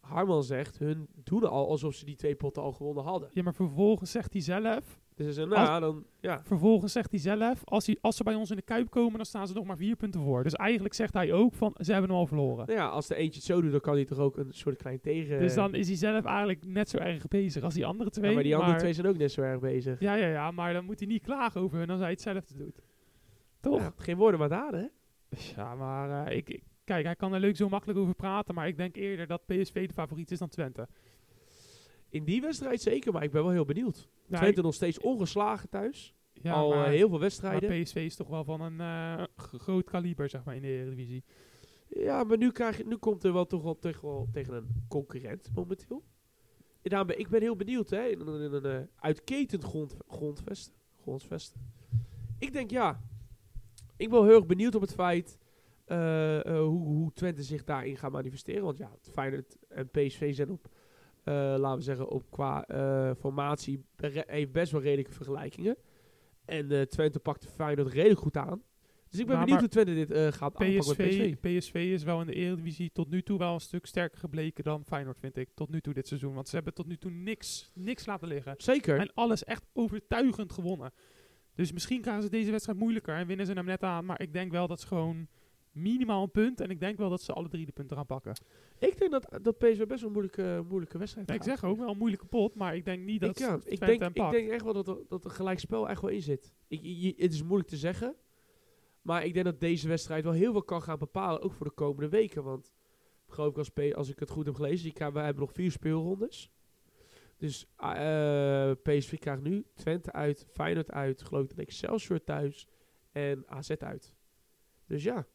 Speaker 1: Hartman zegt, hun doen al alsof ze die twee potten al gewonnen hadden.
Speaker 2: Ja, maar vervolgens zegt hij zelf,
Speaker 1: Dus ze zeggen, nou ja, dan, ja.
Speaker 2: vervolgens zegt hij zelf, als, hij, als ze bij ons in de Kuip komen, dan staan ze nog maar vier punten voor. Dus eigenlijk zegt hij ook van, ze hebben hem al verloren.
Speaker 1: Nou ja, als de eentje het zo doet, dan kan hij toch ook een soort klein tegen...
Speaker 2: Dus dan is hij zelf eigenlijk net zo erg bezig als die andere twee.
Speaker 1: Ja, maar die andere twee zijn ook net zo erg bezig.
Speaker 2: Ja, ja, ja, maar dan moet hij niet klagen over hun als hij hetzelfde doet. Toch?
Speaker 1: Ja, geen woorden, maar daden, hè?
Speaker 2: Ja, maar eh, ik, ik- kijk, hij kan er leuk zo makkelijk over praten, maar ik denk eerder dat PSV de favoriet is dan Twente.
Speaker 1: In die wedstrijd zeker, maar ik ben wel heel benieuwd.
Speaker 2: Ja,
Speaker 1: Twente nog steeds ongeslagen thuis.
Speaker 2: ik- ja,
Speaker 1: al eh,
Speaker 2: maar,
Speaker 1: heel veel
Speaker 2: maar
Speaker 1: wedstrijden.
Speaker 2: PSV is toch wel van een eh, g- groot kaliber, zeg maar, in de Eredivisie.
Speaker 1: Ja, maar nu, krijg je, nu komt er wel toch wel tegen, wel tegen een concurrent momenteel. En daarom ben, ik ben heel benieuwd, hè. In, een- in een eh, uitketend grond, grondvesten, grondvesten. Ik denk, ja. Ik ben wel heel erg benieuwd op het feit eh, eh, hoe, hoe Twente zich daarin gaat manifesteren. Want ja, Feyenoord en PSV zijn op, eh, laten we zeggen, op qua eh, formatie re- heeft best wel redelijke vergelijkingen. En eh, Twente pakt Feyenoord redelijk goed aan. Dus ik ben
Speaker 2: Maar-
Speaker 1: benieuwd hoe Twente dit eh, gaat aanpakken met PSV.
Speaker 2: PSV, PSV is wel in de Eredivisie tot nu toe wel een stuk sterker gebleken dan Feyenoord, vind ik. Tot nu toe dit seizoen, want ze hebben tot nu toe niks, niks laten liggen.
Speaker 1: Zeker.
Speaker 2: En alles echt overtuigend gewonnen. Dus misschien krijgen ze deze wedstrijd moeilijker en winnen ze hem net aan. Maar ik denk wel dat ze gewoon minimaal een punt. En ik denk wel dat ze alle drie de punten gaan pakken.
Speaker 1: Ik denk dat, dat PSV best wel een moeilijke, moeilijke wedstrijd
Speaker 2: Ja, ik
Speaker 1: gaat.
Speaker 2: zeg ook wel een moeilijke pot, maar ik denk niet dat
Speaker 1: ik, ja, ik,
Speaker 2: Twente
Speaker 1: denk,
Speaker 2: hem
Speaker 1: ik
Speaker 2: pakt.
Speaker 1: denk echt wel dat er, dat er gelijkspel echt wel in zit. Ik, je- het is moeilijk te zeggen. Maar ik denk dat deze wedstrijd wel heel veel kan gaan bepalen. Ook voor de komende weken. Want geloof ik, als, P- als ik het goed heb gelezen. Die, krijgen- wij hebben nog vier speelrondes. Dus ah, eh, PSV krijgt nu Twente uit, Feyenoord uit. Geloof ik dat Excelsior thuis. En AZ uit. Dus ja.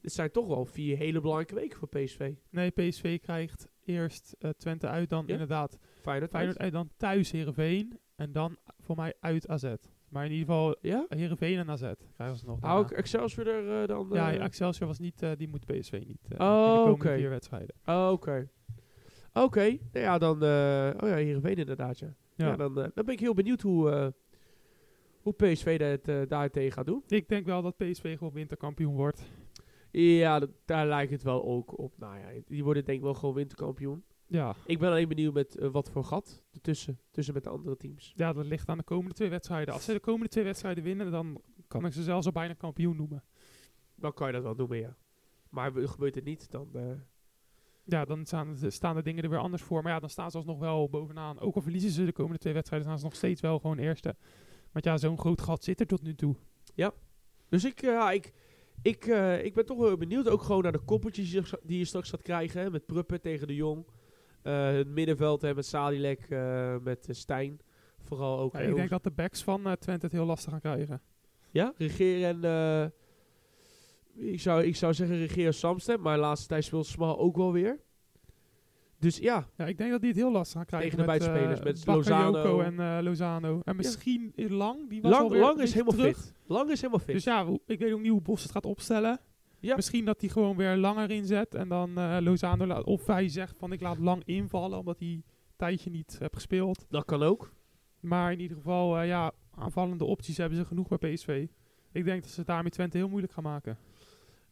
Speaker 1: Dit zijn toch wel vier hele belangrijke weken voor PSV.
Speaker 2: Nee, PSV krijgt eerst eh, Twente uit, dan
Speaker 1: Ja?
Speaker 2: inderdaad
Speaker 1: Feyenoord,
Speaker 2: Feyenoord
Speaker 1: uit.
Speaker 2: uit, dan thuis Heerenveen. En dan voor mij uit AZ. Maar in ieder geval
Speaker 1: Ja?
Speaker 2: Heerenveen en AZ krijgen ze nog
Speaker 1: Hou
Speaker 2: daarna.
Speaker 1: ik Excelsior er eh, dan?
Speaker 2: Ja,
Speaker 1: eh,
Speaker 2: ja, Excelsior was niet, eh, die moet PSV niet eh,
Speaker 1: Oh,
Speaker 2: in de komende
Speaker 1: oké.
Speaker 2: vier wedstrijden.
Speaker 1: oh, oké. Oké, nou ja, dan... eh oh ja, Heerenveen inderdaad, ja. ja.
Speaker 2: Ja.
Speaker 1: dan, eh, dan ben ik heel benieuwd hoe, eh, hoe PSV dat eh daar tegen gaat doen.
Speaker 2: Ik denk wel dat PSV gewoon winterkampioen wordt.
Speaker 1: Ja, dat- daar lijkt het wel ook op. Nou ja, die worden denk ik wel gewoon winterkampioen.
Speaker 2: Ja.
Speaker 1: Ik ben alleen benieuwd met eh, wat voor gat ertussen, tussen met de andere teams.
Speaker 2: ja, dat ligt aan de komende twee wedstrijden. Als ze de komende twee wedstrijden winnen, dan kan ik ze zelfs al bijna kampioen noemen.
Speaker 1: Dan kan je dat wel noemen, ja. Maar we- gebeurt het niet, dan... eh,
Speaker 2: Ja, dan staan, de- staan de dingen er weer anders voor. Maar ja, dan staan ze alsnog wel bovenaan. Ook al verliezen ze de komende twee wedstrijden, staan ze nog steeds wel gewoon eerste. Want ja, zo'n groot gat zit er tot nu toe.
Speaker 1: Dus ik, eh, ja, ik, ik, eh, ik ben toch wel benieuwd. Ook gewoon naar de koppeltjes die je- die je straks gaat krijgen. Hè, met Pruppen tegen de Jong. Eh, het middenveld hè, met Sadilek, eh, met eh, Stijn. Vooral ook.
Speaker 2: Ja,
Speaker 1: heel-
Speaker 2: ik denk dat de backs van eh, Twente het heel lastig gaan krijgen.
Speaker 1: Ja, regeer en... eh, ik, zou, ik zou zeggen regeer Samstem. Maar de laatste tijd speelt Smal ook wel weer. Dus ja,
Speaker 2: Ja, ik denk dat die het heel lastig gaan krijgen.
Speaker 1: Tegen de
Speaker 2: met, eh,
Speaker 1: buitenspelers, met
Speaker 2: Bakayoko
Speaker 1: Lozano.
Speaker 2: en eh, Lozano. En misschien Lang, die was
Speaker 1: lang,
Speaker 2: alweer
Speaker 1: lang
Speaker 2: een
Speaker 1: is
Speaker 2: beetje
Speaker 1: helemaal
Speaker 2: terug.
Speaker 1: fit. Lang is helemaal fit.
Speaker 2: Dus ja, hoe- ik weet ook niet hoe Bos het gaat opstellen.
Speaker 1: Ja.
Speaker 2: Misschien dat hij gewoon weer langer inzet en dan eh Lozano laat. Of hij zegt van ik laat lang invallen omdat hij een tijdje niet heb gespeeld.
Speaker 1: dat kan ook.
Speaker 2: Maar in ieder geval, eh, ja, aanvallende opties hebben ze genoeg bij PSV. Ik denk dat ze het daarmee Twente heel moeilijk gaan maken.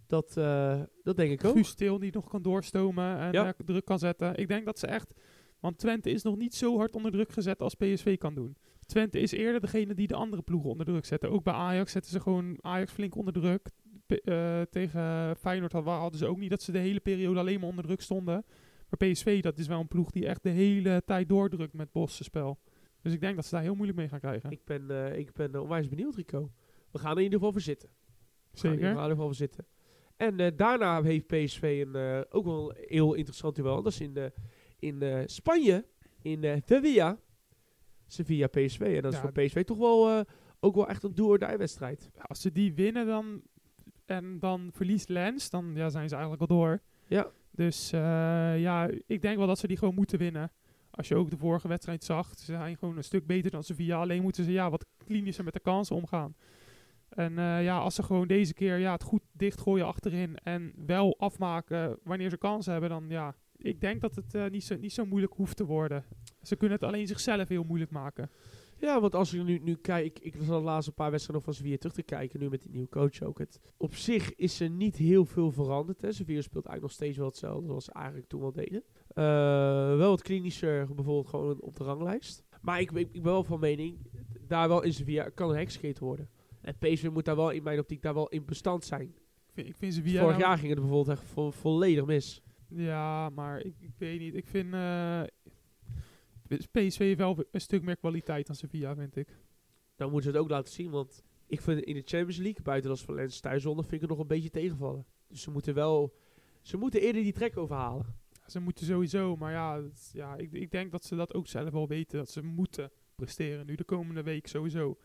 Speaker 1: Dat, eh, dat denk ik ook.
Speaker 2: Guus Til die nog kan doorstomen en
Speaker 1: Ja.
Speaker 2: eh, druk kan zetten. Ik denk dat ze echt... Want Twente is nog niet zo hard onder druk gezet als PSV kan doen. Twente is eerder degene die de andere ploegen onder druk zetten. Ook bij Ajax zetten ze gewoon Ajax flink onder druk. P- eh, tegen Feyenoord had- hadden ze ook niet dat ze de hele periode alleen maar onder druk stonden. Maar PSV, dat is wel een ploeg die echt de hele tijd doordrukt met Bosse spel. Dus ik denk dat ze daar heel moeilijk mee gaan krijgen.
Speaker 1: Ik ben, eh, ik ben eh, onwijs benieuwd, Rico. We gaan er in ieder geval voor zitten. We gaan er in
Speaker 2: Zeker.
Speaker 1: ieder geval voor zitten. En eh, daarna heeft PSV een, eh, ook wel een heel interessant duel. Dat is in, eh, in eh, Spanje, in eh Sevilla. Sevilla PSV. En dat is
Speaker 2: Ja.
Speaker 1: voor PSV toch wel, eh, ook wel echt een do-or-die wedstrijd.
Speaker 2: Ja, als ze die winnen dan, en dan verliest Lens, dan ja, zijn ze eigenlijk al door.
Speaker 1: Ja.
Speaker 2: Dus eh, ja, ik denk wel dat ze die gewoon moeten winnen. Als je ook de vorige wedstrijd zag, ze zijn gewoon een stuk beter dan Sevilla. Alleen moeten ze ja, wat klinischer met de kansen omgaan. En eh, ja, als ze gewoon deze keer ja, het goed dichtgooien achterin en wel afmaken wanneer ze kansen hebben, dan ja, ik denk dat het eh, niet, zo, niet zo moeilijk hoeft te worden. Ze kunnen het alleen zichzelf heel moeilijk maken.
Speaker 1: Ja, want als ik nu, nu kijk, ik, ik zat de laatste paar wedstrijden nog van Sevilla terug te kijken, nu met die nieuwe coach ook. Het, op zich is er niet heel veel veranderd. Hè. Sevilla speelt eigenlijk nog steeds wel hetzelfde zoals ze eigenlijk toen wel deden. Eh, wel wat klinischer, bijvoorbeeld gewoon op de ranglijst. Maar ik, ik, ik ben wel van mening, daar wel in Sevilla kan een hekskate worden. En PSV moet daar wel in mijn optiek daar wel in bestand zijn.
Speaker 2: Ik vind, ik vind Sevilla
Speaker 1: Vorig
Speaker 2: nou-
Speaker 1: jaar ging het bijvoorbeeld echt vo- volledig mis.
Speaker 2: Ja, maar ik, ik weet niet. Ik vind eh, PSV heeft wel een stuk meer kwaliteit dan Sevilla, vind ik.
Speaker 1: Dan moeten ze het ook laten zien, want ik vind in de Champions League, buiten als Valencia thuisronde, vind ik het nog een beetje tegenvallen. Dus ze moeten wel, ze moeten eerder die trek overhalen.
Speaker 2: Ze moeten sowieso, maar ja, het- ja ik, ik denk dat ze dat ook zelf wel weten. Dat ze moeten presteren nu de komende week sowieso.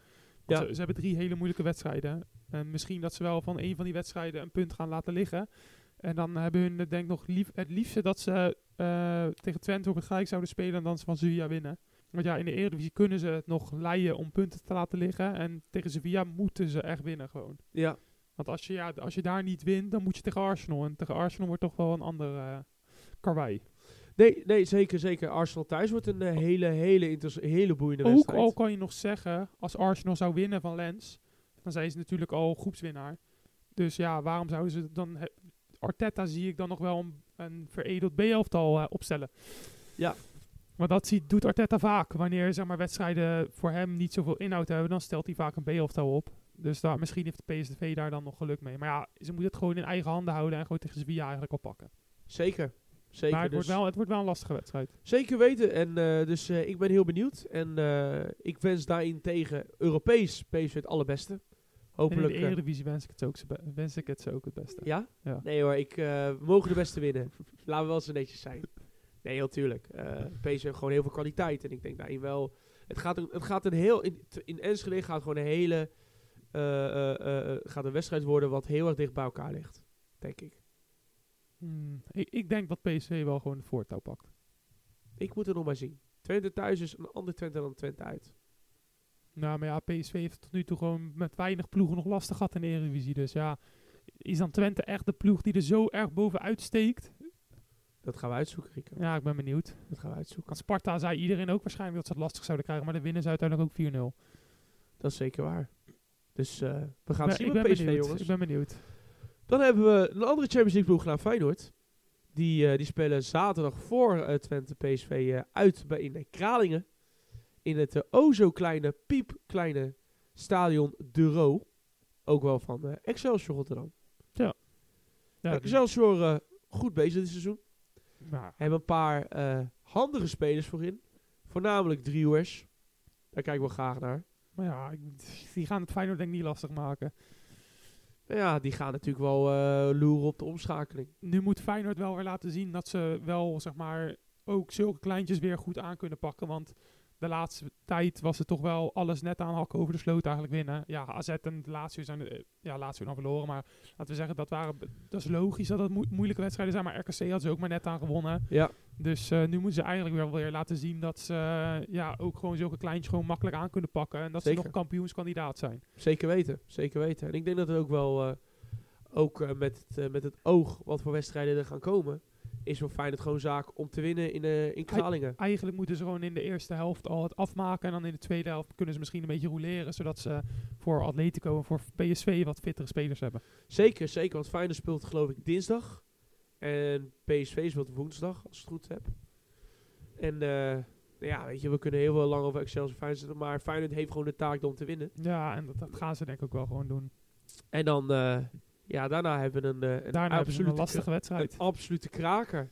Speaker 2: Want
Speaker 1: Ja.
Speaker 2: ze, ze hebben drie hele moeilijke wedstrijden. En misschien dat ze wel van een van die wedstrijden een punt gaan laten liggen. En dan hebben hun het denk ik nog lief, het liefste dat ze eh, tegen Twente op het gelijk zouden spelen en dan ze van Sevilla winnen. Want ja, in de Eredivisie kunnen ze het nog leiden om punten te laten liggen. En tegen Sevilla moeten ze echt winnen gewoon.
Speaker 1: Ja.
Speaker 2: Want als je, ja, als je daar niet wint, dan moet je tegen Arsenal. En tegen Arsenal wordt toch wel een ander eh karwei.
Speaker 1: Nee, nee, zeker, zeker. Arsenal thuis wordt een eh, hele, hele, interess- hele boeiende
Speaker 2: Ook
Speaker 1: wedstrijd.
Speaker 2: al oh, kan je nog zeggen, als Arsenal zou winnen van Lens, dan zijn ze natuurlijk al groepswinnaar. Dus ja, waarom zouden ze dan... he- Arteta zie ik dan nog wel een, een veredeld B-elftal eh, opstellen.
Speaker 1: Ja.
Speaker 2: Maar dat ziet, doet Arteta vaak. Wanneer zeg maar, wedstrijden voor hem niet zoveel inhoud hebben, dan stelt hij vaak een B-elftal op. Dus daar, misschien heeft de PSV daar dan nog geluk mee. Maar ja, ze moeten het gewoon in eigen handen houden en gewoon tegen Sevilla eigenlijk oppakken.
Speaker 1: Zeker, zeker.
Speaker 2: maar het,
Speaker 1: dus-
Speaker 2: wordt wel, het wordt wel een lastige wedstrijd.
Speaker 1: Zeker weten. En eh, dus eh, ik ben heel benieuwd. En eh, ik wens daarentegen Europees PSV het allerbeste. Hopelijk.
Speaker 2: en in
Speaker 1: eh,
Speaker 2: de Eredivisie wens ik het ook, zo be- wens ik het ze ook het beste.
Speaker 1: ja?
Speaker 2: Ja.
Speaker 1: Nee hoor, ik, eh, we mogen de beste winnen. Laten we wel zo netjes zijn. Nee, heel tuurlijk. Eh PSV heeft gewoon heel veel kwaliteit. En ik denk daarin wel... Het gaat een, het gaat een heel... In, t- in Enschede gaat gewoon een hele... eh, eh, eh, gaat een wedstrijd worden wat heel erg dicht bij elkaar ligt. Denk ik.
Speaker 2: Hmm, ik, ik denk dat PSV wel gewoon het voortouw pakt.
Speaker 1: Ik moet het nog maar zien. Twente thuis is een ander Twente dan Twente uit.
Speaker 2: Nou, maar ja, PSV heeft het tot nu toe gewoon met weinig ploegen nog lastig gehad in de Eredivisie. Dus ja, is dan Twente echt de ploeg die er zo erg bovenuit steekt?
Speaker 1: Dat gaan we uitzoeken, Rico.
Speaker 2: Ja, ik ben benieuwd.
Speaker 1: Dat gaan we uitzoeken.
Speaker 2: Want Sparta zei iedereen ook waarschijnlijk dat ze het lastig zouden krijgen, maar de winnen ze uiteindelijk ook 4-0.
Speaker 1: Dat is zeker waar. Dus eh, we gaan
Speaker 2: Maar
Speaker 1: het zien
Speaker 2: ik
Speaker 1: met
Speaker 2: ben
Speaker 1: PSV,
Speaker 2: benieuwd.
Speaker 1: jongens.
Speaker 2: Ik ben benieuwd.
Speaker 1: Dan hebben we een andere Champions League ploeg gedaan, Feyenoord. Die, eh, die spelen zaterdag voor eh, Twente PSV eh, uit bij in eh, Kralingen. In het eh, o zo kleine, piepkleine stadion De Ro. Ook wel van eh, Excelsior Rotterdam.
Speaker 2: Ja, die-
Speaker 1: Excelsior eh, goed bezig dit seizoen.
Speaker 2: nou,
Speaker 1: Hebben een paar eh, handige spelers voorin. Voornamelijk driehoers. Daar kijken we graag naar.
Speaker 2: maar ja, ik- die gaan het Feyenoord denk ik niet lastig maken.
Speaker 1: Nou ja, die gaan natuurlijk wel eh, loeren op de omschakeling.
Speaker 2: nu moet Feyenoord wel weer laten zien dat ze wel, zeg maar, ook zulke kleintjes weer goed aan kunnen pakken. Want de laatste tijd was het toch wel alles net aanhakken over de sloot eigenlijk winnen. Ja, AZ en Lazio zijn eh, ja, Lazio dan verloren. Maar laten we zeggen, dat, waren, dat is logisch dat dat moe- moeilijke wedstrijden zijn. Maar RKC had ze ook maar net aan gewonnen.
Speaker 1: Ja.
Speaker 2: Dus eh, nu moeten ze eigenlijk wel weer laten zien dat ze eh, ja, ook gewoon zulke kleintjes gewoon makkelijk aan kunnen pakken. En dat
Speaker 1: Zeker.
Speaker 2: ze nog kampioenskandidaat zijn.
Speaker 1: Zeker weten, zeker weten. En ik denk dat het ook wel, eh, ook eh, met, het, eh, met het oog wat voor wedstrijden er gaan komen, is wel fijn het gewoon zaak om te winnen in, eh in Kralingen.
Speaker 2: Eigenlijk moeten ze gewoon in de eerste helft al het afmaken. En dan in de tweede helft kunnen ze misschien een beetje rouleren. Zodat ze voor Atletico en voor PSV wat fittere spelers hebben.
Speaker 1: Zeker, zeker, want Feyenoord speelt geloof ik dinsdag en PSV speelt woensdag, als ik het goed heb. En eh, nou ja, weet je, we kunnen heel veel lang over Excelsior Feyenoord zitten, maar Feyenoord heeft gewoon de taak om te winnen.
Speaker 2: Ja, en dat, dat gaan ze denk ik ook wel gewoon doen.
Speaker 1: En dan, eh, ja, daarna hebben we een, eh, een
Speaker 2: Daarna hebben ze een
Speaker 1: absolute
Speaker 2: lastige wedstrijd.
Speaker 1: Een absolute kraker.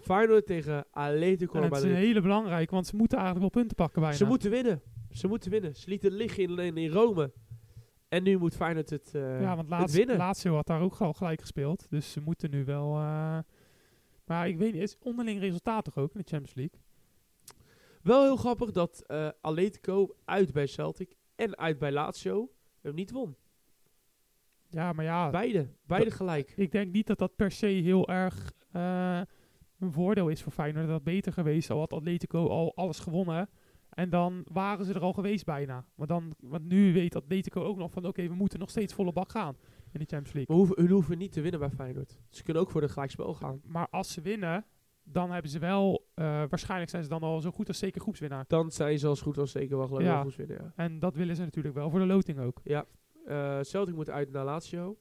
Speaker 1: Feyenoord tegen Atletico
Speaker 2: En het is een
Speaker 1: Madrid.
Speaker 2: hele belangrijke, want ze moeten eigenlijk wel punten pakken bijna.
Speaker 1: Ze moeten winnen. Ze moeten winnen. Ze lieten liggen in, in, in Rome. En nu moet Feyenoord het, eh,
Speaker 2: ja, want
Speaker 1: het
Speaker 2: laatst,
Speaker 1: winnen.
Speaker 2: Lazio had daar ook al gelijk gespeeld. Dus ze moeten nu wel... eh, maar ik weet niet, is onderling resultaat toch ook in de Champions League?
Speaker 1: Wel heel grappig dat eh, Atletico uit bij Celtic en uit bij Lazio hem niet won.
Speaker 2: Ja, maar ja,
Speaker 1: Beide. Beide gelijk.
Speaker 2: ik denk niet dat dat per se heel erg eh, een voordeel is voor Feyenoord. Dat had beter geweest, al had Atletico al alles gewonnen. En dan waren ze er al geweest bijna. Maar dan, want nu weet Atletico ook nog van, oké, we moeten nog steeds volle bak gaan in de Champions League.
Speaker 1: Maar hoeven, hun hoeven niet te winnen bij Feyenoord. Ze kunnen ook voor de gelijkspel gaan.
Speaker 2: Maar als ze winnen, dan hebben ze wel... eh, waarschijnlijk zijn ze dan al zo goed als zeker groepswinnaar.
Speaker 1: Dan zijn ze als goed als zeker wel gelijk
Speaker 2: Ja.
Speaker 1: wel goed winnen. Ja.
Speaker 2: En dat willen ze natuurlijk wel voor de loting ook.
Speaker 1: Eh, Celtic moet uit naar Lazio.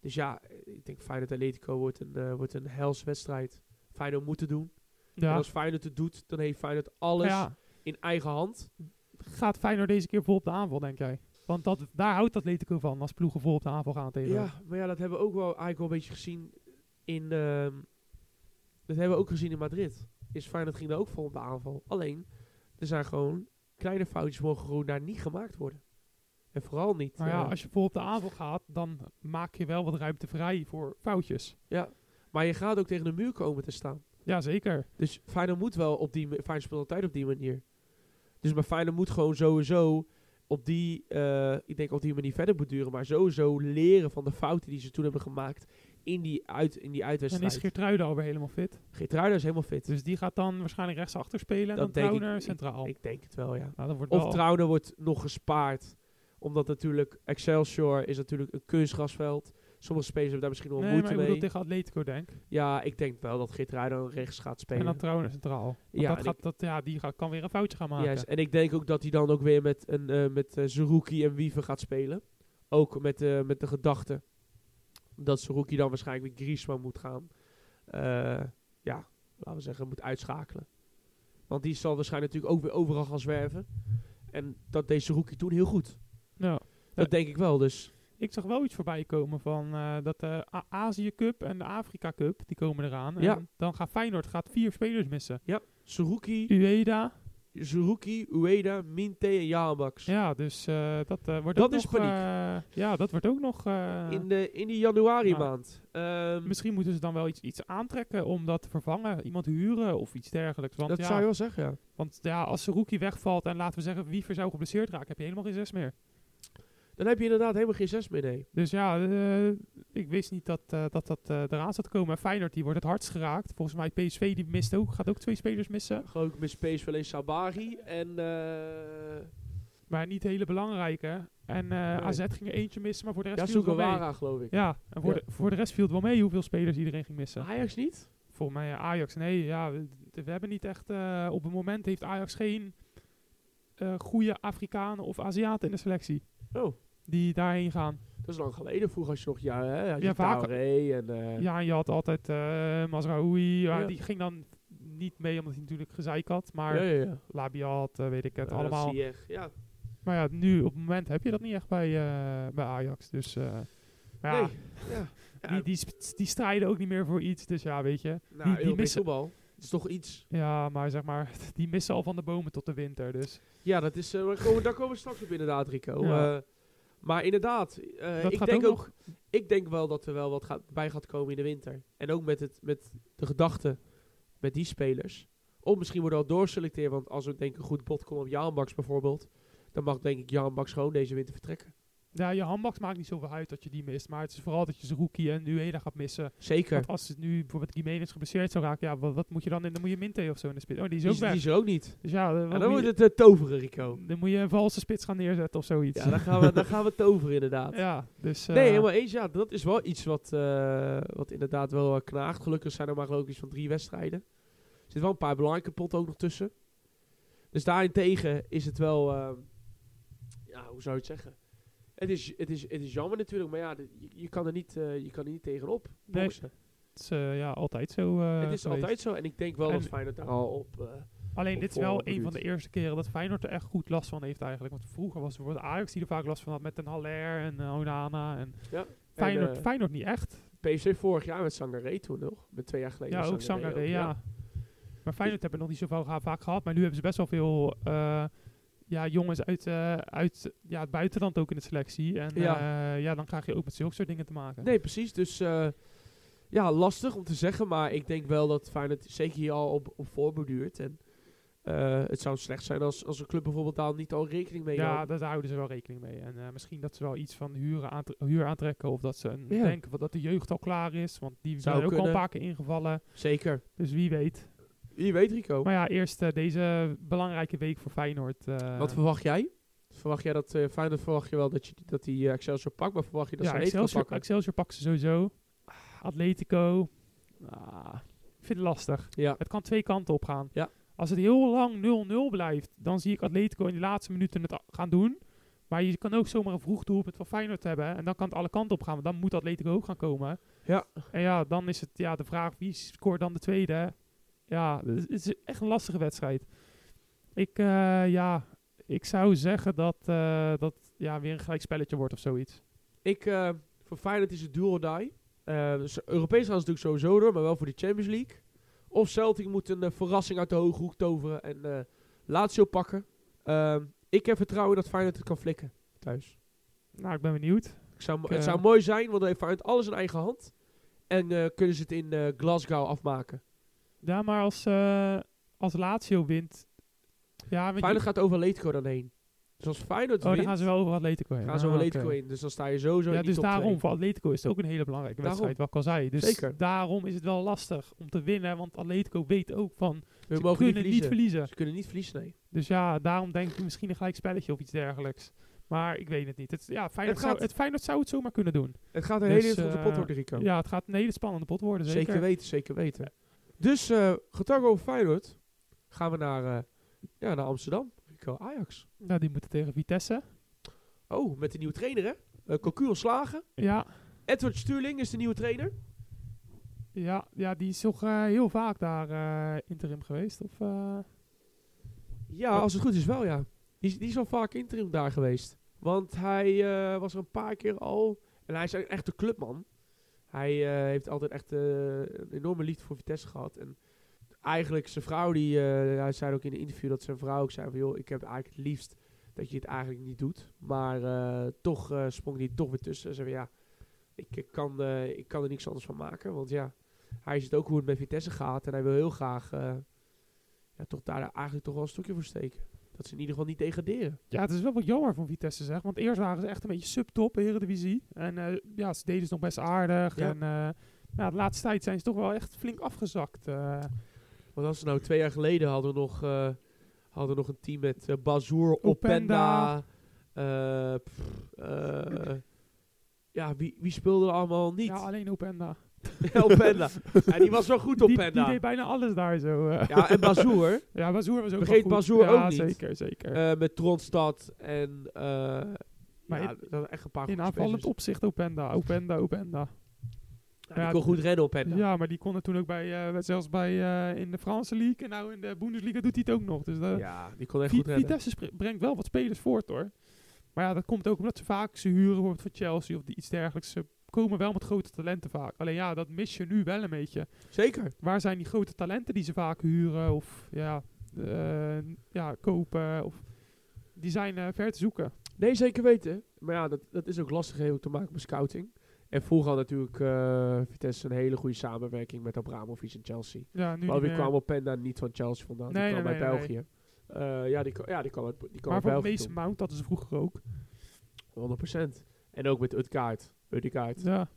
Speaker 1: Dus ja, ik denk Feyenoord Atletico wordt een, eh wordt een hels wedstrijd. Feyenoord moet het doen. En
Speaker 2: Ja.
Speaker 1: als Feyenoord het doet, dan heeft Feyenoord alles
Speaker 2: Ja.
Speaker 1: in eigen hand.
Speaker 2: Gaat Feyenoord deze keer vol op de aanval, denk jij? Want dat, daar houdt Atletico van, als ploegen vol op de aanval gaan tegen.
Speaker 1: Ja, maar ja, dat hebben we ook wel eigenlijk wel een beetje gezien in. ehm, dat hebben we ook gezien in Madrid. Is Feyenoord ging daar ook vol op de aanval. Alleen, er zijn gewoon kleine foutjes mogen gewoon daar niet gemaakt worden. En vooral niet.
Speaker 2: Maar Nou ja,
Speaker 1: eh,
Speaker 2: als je vol op de aanval gaat, dan maak je wel wat ruimte vrij voor foutjes.
Speaker 1: ja. maar je gaat ook tegen de muur komen te staan.
Speaker 2: Ja, zeker.
Speaker 1: Dus Feyenoord moet wel op die ma- Feyenoord speelt altijd op die manier. Dus maar Feyenoord moet gewoon sowieso op die, eh, ik denk op die manier verder borduren, maar sowieso leren van de fouten die ze toen hebben gemaakt in die uit in die
Speaker 2: Dan is
Speaker 1: uitwedstrijd.
Speaker 2: Geertruida alweer helemaal fit.
Speaker 1: Geertruida is helemaal fit.
Speaker 2: Dus die gaat dan waarschijnlijk rechtsachter spelen en
Speaker 1: Dat
Speaker 2: dan
Speaker 1: denk ik.
Speaker 2: Trauner
Speaker 1: Ik-
Speaker 2: centraal.
Speaker 1: Ik denk het wel, ja.
Speaker 2: nou, dat wordt
Speaker 1: Of
Speaker 2: wel-
Speaker 1: Trouwner wordt nog gespaard. Omdat natuurlijk Excelsior is natuurlijk een kunstgrasveld. Sommige spelers hebben daar misschien wel
Speaker 2: Nee, maar
Speaker 1: moeite
Speaker 2: ik bedoel
Speaker 1: mee.
Speaker 2: tegen Atletico, denk ik.
Speaker 1: Ja, ik denk wel dat Geert dan rechts gaat
Speaker 2: En dan
Speaker 1: spelen.
Speaker 2: Trauner centraal. Want
Speaker 1: Ja,
Speaker 2: dat
Speaker 1: en
Speaker 2: gaat, dat, ja, die gaat, kan weer een foutje gaan maken.
Speaker 1: Juist. en ik denk ook dat hij dan ook weer met, een, eh met eh, Zerouki en Wiever gaat spelen. Ook met, eh, met de gedachte dat Zerouki dan waarschijnlijk met Griezmann moet gaan. eh, ja, laten we zeggen, moet uitschakelen. Want die zal waarschijnlijk natuurlijk ook weer overal gaan zwerven. En dat deed Zerouki toen heel goed.
Speaker 2: Ja.
Speaker 1: Dat denk ik wel, dus.
Speaker 2: Ik zag wel iets voorbij komen van eh, dat de A- Azië Cup en de Afrika Cup, die komen eraan.
Speaker 1: Ja.
Speaker 2: En dan gaat Feyenoord gaat vier spelers missen.
Speaker 1: Suruki,
Speaker 2: Ueda.
Speaker 1: Suruki, Ueda, Minte en Jaamax.
Speaker 2: Ja, dus eh, dat eh, wordt
Speaker 1: Dat
Speaker 2: ook
Speaker 1: is
Speaker 2: nog...
Speaker 1: paniek.
Speaker 2: eh, ja, dat wordt ook nog... eh,
Speaker 1: In, de, in die januari
Speaker 2: Ja.
Speaker 1: maand. Ehm,
Speaker 2: Misschien moeten ze dan wel iets, iets aantrekken om dat te vervangen. Iemand huren of iets dergelijks. Want,
Speaker 1: dat
Speaker 2: ja,
Speaker 1: zou je wel zeggen, ja.
Speaker 2: want ja, als Seruki wegvalt en laten we zeggen Wiever zou geblesseerd raken, heb je helemaal geen zes meer.
Speaker 1: Dan heb je inderdaad helemaal geen zes meer, nee.
Speaker 2: Dus ja, eh, ik wist niet dat eh, dat, dat eh, eraan zat te komen. En Feyenoord die wordt het hardst geraakt. Volgens mij PSV die mist ook, gaat ook twee spelers missen.
Speaker 1: Gewoon ook met Space alleen Sabari en... eh
Speaker 2: Maar niet hele belangrijke. En eh,
Speaker 1: Nee.
Speaker 2: AZ ging er eentje missen, maar voor de rest
Speaker 1: ja,
Speaker 2: viel het wel mee.
Speaker 1: Sugawara, geloof ik.
Speaker 2: Ja, en voor,
Speaker 1: Ja.
Speaker 2: De, voor de rest viel het wel mee hoeveel spelers iedereen ging missen.
Speaker 1: Ajax niet?
Speaker 2: Volgens mij eh, Ajax, nee, ja, we, we hebben niet echt... eh, op het moment heeft Ajax geen eh goede Afrikanen of Aziaten in de selectie
Speaker 1: Oh,
Speaker 2: die daarheen gaan.
Speaker 1: dat is lang geleden. Vroeger had je nog... Ja, hè, had je
Speaker 2: Ja, vaak-
Speaker 1: Traoré en... eh,
Speaker 2: Ja, en je had altijd eh Mazraoui, ja,
Speaker 1: Ja.
Speaker 2: die ging dan niet mee omdat hij natuurlijk gezeik had. Maar
Speaker 1: ja, ja, ja.
Speaker 2: Labiat, eh, weet ik het,
Speaker 1: Ja,
Speaker 2: allemaal.
Speaker 1: Ziyech, ja.
Speaker 2: Maar ja, nu op het moment heb je dat niet echt bij, eh, bij Ajax. Dus eh, maar ja,
Speaker 1: Nee. ja.
Speaker 2: die, die, sp- die strijden ook niet meer voor iets. Dus ja, weet je.
Speaker 1: nou,
Speaker 2: die
Speaker 1: Europees
Speaker 2: missen-
Speaker 1: voetbal. Dat is toch iets.
Speaker 2: Ja, maar zeg maar, die missen al van de bomen tot de winter. Dus
Speaker 1: Ja, dat is, eh, daar, komen, daar komen we straks op inderdaad, Rico.
Speaker 2: Ja.
Speaker 1: Eh, maar inderdaad, eh,
Speaker 2: dat
Speaker 1: ik
Speaker 2: gaat
Speaker 1: denk
Speaker 2: ook
Speaker 1: ook,
Speaker 2: nog.
Speaker 1: ik denk wel dat er wel wat gaat, bij gaat komen in de winter. En ook met, het, met de gedachte met die spelers. Of misschien worden we al doorselecteerd. Want als we denk ik een goed bod komt op Jan Baks bijvoorbeeld. Dan mag denk ik Jan Baks gewoon deze winter vertrekken.
Speaker 2: Ja, je handbaks maakt niet zoveel uit dat je die mist. Maar het is vooral dat je Zerouki en Ueda gaat missen.
Speaker 1: Zeker.
Speaker 2: Want als het nu bijvoorbeeld Gimenez geblesseerd zou raken, ja, wat, wat moet je dan in? Dan moet je Minte of zo in de spits. Oh, die is
Speaker 1: Die
Speaker 2: ook
Speaker 1: is, die
Speaker 2: weg.
Speaker 1: is er ook niet.
Speaker 2: Dus ja, eh, wat
Speaker 1: En dan
Speaker 2: moet
Speaker 1: wordt
Speaker 2: je,
Speaker 1: het eh, toveren, Rico.
Speaker 2: dan moet je een valse spits gaan neerzetten of zoiets.
Speaker 1: Ja, dan gaan we, dan gaan we toveren inderdaad.
Speaker 2: Ja, dus... eh,
Speaker 1: Nee, helemaal eens. Ja, dat is wel iets wat, eh, wat inderdaad wel eh, knaagt. Gelukkig zijn er maar geloof ik iets van drie wedstrijden. Er zitten wel een paar belangrijke potten ook nog tussen. Dus daarentegen is het wel... eh, ja, hoe zou je het zeggen? Het is, het is, het is jammer natuurlijk, maar ja, de- je, je kan er niet, eh, je kan er niet tegenop.
Speaker 2: Nee.
Speaker 1: boksen.
Speaker 2: is eh, ja, altijd zo. eh,
Speaker 1: het is
Speaker 2: geweest.
Speaker 1: altijd zo. En ik denk wel dat
Speaker 2: En-
Speaker 1: Feyenoord daar al op... eh,
Speaker 2: Alleen
Speaker 1: op
Speaker 2: dit is wel
Speaker 1: voorhand
Speaker 2: een van de
Speaker 1: benieuwd.
Speaker 2: eerste keren dat Feyenoord er echt goed last van heeft eigenlijk. Want vroeger was er bijvoorbeeld Ajax die er vaak last van had met Den Haller en eh, Onana. En
Speaker 1: Ja,
Speaker 2: Feyenoord,
Speaker 1: en, eh,
Speaker 2: Feyenoord niet echt.
Speaker 1: PSV vorig jaar met Sangaré toen nog. Met twee jaar geleden.
Speaker 2: Ja,
Speaker 1: was
Speaker 2: ook
Speaker 1: Sangaré
Speaker 2: Sangaré, ja. Maar Feyenoord hebben nog niet zoveel ga- vaak gehad. Maar nu hebben ze best wel veel eh, ja, jongens uit, eh, uit ja, het buitenland ook in de selectie. En
Speaker 1: Ja.
Speaker 2: ja. ja, dan krijg je ook met zulke soort dingen te maken.
Speaker 1: Nee, precies. Dus eh, ja, lastig om te zeggen. Maar ik denk wel dat Feyenoord zeker hier al op, op voorborduurt. En eh, het zou slecht zijn als, als een club bijvoorbeeld daar niet al rekening mee
Speaker 2: Ja,
Speaker 1: houdt.
Speaker 2: daar houden ze wel rekening mee. En eh, misschien dat ze wel iets van huren aantre- huur aantrekken. Of dat ze een-
Speaker 1: Ja.
Speaker 2: denken dat de jeugd al klaar is. Want die
Speaker 1: Zou
Speaker 2: zijn ook al een
Speaker 1: kunnen.
Speaker 2: paar keer ingevallen.
Speaker 1: Zeker.
Speaker 2: Dus wie weet.
Speaker 1: Je weet Rico.
Speaker 2: Maar ja, eerst eh, deze belangrijke week voor Feyenoord. eh,
Speaker 1: Wat verwacht jij? Verwacht jij dat eh Feyenoord verwacht je wel dat, je, dat die eh, Excelsior pakt? Maar verwacht je dat
Speaker 2: ja,
Speaker 1: ze een eten
Speaker 2: Excelsior,
Speaker 1: pakken?
Speaker 2: Excelsior pakt ze sowieso. Atletico. Ah, ik vind het lastig.
Speaker 1: Ja.
Speaker 2: Het kan twee kanten op gaan.
Speaker 1: Ja.
Speaker 2: Als het heel lang 0-0 blijft, dan zie ik Atletico in de laatste minuten het a- gaan doen. Maar je kan ook zomaar een vroeg doelpunt van Feyenoord hebben. En dan kan het alle kanten op gaan. Want dan moet Atletico ook gaan komen.
Speaker 1: Ja.
Speaker 2: En ja, dan is het ja, de vraag wie scoort dan de tweede. Ja, het is- het is echt een lastige wedstrijd. Ik, eh, ja, ik zou zeggen dat eh, dat ja, weer een gelijk spelletje wordt of zoiets.
Speaker 1: Ik, eh, voor Feyenoord is het dual die. Eh, dus Europees gaan ze natuurlijk sowieso door, maar wel voor de Champions League. Of Celtic moet een eh, verrassing uit de hoge hoek toveren en eh Lazio pakken. Ehm, ik heb vertrouwen dat Feyenoord het kan flikken thuis.
Speaker 2: Nou, ik ben benieuwd.
Speaker 1: Ik zou,
Speaker 2: Ik,
Speaker 1: het
Speaker 2: eh,
Speaker 1: zou mooi zijn, want dan heeft Feyenoord alles in eigen hand. En eh, kunnen ze het in eh, Glasgow afmaken.
Speaker 2: Ja, maar als, eh, als Lazio wint... Ja, want
Speaker 1: Feyenoord
Speaker 2: je,
Speaker 1: gaat over Atletico dan heen. Dus als Feyenoord
Speaker 2: oh, dan
Speaker 1: wint,
Speaker 2: gaan
Speaker 1: gaan
Speaker 2: ze wel over Atletico heen.
Speaker 1: ze,
Speaker 2: Ah,
Speaker 1: over Atletico
Speaker 2: oké.
Speaker 1: in. Dus dan sta je sowieso
Speaker 2: Ja,
Speaker 1: in die
Speaker 2: dus
Speaker 1: top
Speaker 2: daarom,
Speaker 1: 2.
Speaker 2: voor Atletico is het ook een hele belangrijke
Speaker 1: Daarom.
Speaker 2: wedstrijd, wat ik al zei. Dus
Speaker 1: Zeker.
Speaker 2: daarom is het wel lastig om te winnen, want Atletico weet ook van,
Speaker 1: We
Speaker 2: ze
Speaker 1: mogen niet
Speaker 2: kunnen
Speaker 1: verliezen.
Speaker 2: verliezen.
Speaker 1: Ze kunnen niet verliezen, nee.
Speaker 2: Dus ja, daarom denk ik misschien een gelijk spelletje of iets dergelijks. Maar ik weet het niet. Het, ja, Feyenoord,
Speaker 1: Het gaat-
Speaker 2: zou, het Feyenoord zou het zomaar kunnen doen.
Speaker 1: Het gaat een
Speaker 2: Dus,
Speaker 1: hele interessante pot
Speaker 2: eh,
Speaker 1: worden, Rico.
Speaker 2: Ja, het gaat een hele spannende pot worden,
Speaker 1: Zeker.
Speaker 2: zeker.
Speaker 1: weten, zeker weten. Dus eh getal over Feyenoord gaan we naar, eh, ja, naar Amsterdam. Rico Ajax.
Speaker 2: Nou, die moeten tegen Vitesse.
Speaker 1: Oh, met de nieuwe trainer hè? Eh Cocu ontslagen.
Speaker 2: Ja,
Speaker 1: Edward Stuurling is de nieuwe trainer.
Speaker 2: ja, ja die is toch eh, heel vaak daar eh, interim geweest. Of, eh,
Speaker 1: Ja, als het goed is wel ja. Die, is- die is al vaak interim daar geweest. Want hij eh, was er een paar keer al. En hij is een echte clubman. Hij eh, heeft altijd echt eh, een enorme liefde voor Vitesse gehad. En eigenlijk zijn vrouw, die, eh, hij zei ook in een interview dat zijn vrouw ook zei van... ...joh, ik heb eigenlijk het liefst dat je het eigenlijk niet doet. Maar eh, toch eh, sprong hij toch weer tussen. En zei van, ja, ik, eh, kan, eh, ik kan er niks anders van maken. Want ja, hij ziet ook hoe het met Vitesse gaat. En hij wil heel graag eh, ja, toch daar eigenlijk toch wel een stukje voor steken. Dat ze in ieder geval niet degraderen.
Speaker 2: Ja, het is wel wat jammer van Vitesse zeg. Want eerst waren ze echt een beetje subtop in de Eredivisie. En eh, ja, ze deden ze nog best aardig.
Speaker 1: Ja.
Speaker 2: En eh, ja, de laatste tijd zijn ze toch wel echt flink afgezakt. eh.
Speaker 1: Want als ze nou twee jaar geleden hadden we nog, eh, hadden we nog een team met eh, Bazoer,
Speaker 2: Openda.
Speaker 1: Openda. eh, pff, eh, ja, wie, wie speelde er allemaal niet?
Speaker 2: ja, alleen Openda.
Speaker 1: Openda. Ja, die was wel goed,
Speaker 2: Die, die
Speaker 1: Openda.
Speaker 2: deed bijna alles daar zo. eh.
Speaker 1: Ja, en Bazoer
Speaker 2: Ja, Bazoer was ook
Speaker 1: Vergeet
Speaker 2: wel goed.
Speaker 1: Bazoer
Speaker 2: ja,
Speaker 1: ook niet.
Speaker 2: zeker, zeker.
Speaker 1: eh, met Tronstad en... eh
Speaker 2: Maar
Speaker 1: ja, dat waren echt een paar
Speaker 2: in
Speaker 1: goede
Speaker 2: aanvallend
Speaker 1: spelers.
Speaker 2: opzicht Openda, Openda, Openda.
Speaker 1: Ja,
Speaker 2: ja,
Speaker 1: die kon goed rennen, Openda.
Speaker 2: Ja, maar die kon het toen ook bij, eh zelfs bij eh, in de Franse League. En nou in de Bundesliga doet hij het ook nog. Dus dat,
Speaker 1: Ja, die kon echt
Speaker 2: Vi-
Speaker 1: goed rennen.
Speaker 2: Vitesse spre- brengt wel wat spelers voort hoor. Maar ja, dat komt ook omdat ze vaak ze huren wordt van Chelsea of die- iets dergelijks. Ze komen wel met grote talenten vaak. Alleen ja, dat mis je nu wel een beetje.
Speaker 1: Zeker.
Speaker 2: Waar zijn die grote talenten die ze vaak huren of ja, eh, ja kopen? Of, die zijn eh, ver te zoeken.
Speaker 1: Nee, zeker weten. Maar ja, dat, dat is ook lastig heeft ook te maken met scouting. En vroeger had natuurlijk eh, Vitesse een hele goede samenwerking met Abramovic en Chelsea.
Speaker 2: Ja, nu
Speaker 1: Maar wie
Speaker 2: niet meer.
Speaker 1: kwam op Penda niet van Chelsea vandaan?
Speaker 2: Nee,
Speaker 1: die kwam uit
Speaker 2: nee, nee,
Speaker 1: België. Eh, ja, die, kwa- ja, die kwam uit, die kwam
Speaker 2: maar
Speaker 1: uit
Speaker 2: voor
Speaker 1: België.
Speaker 2: Mason Mount hadden ze vroeger ook.
Speaker 1: toen. 100%. En ook met Utkaart. Utkaart.
Speaker 2: Ja,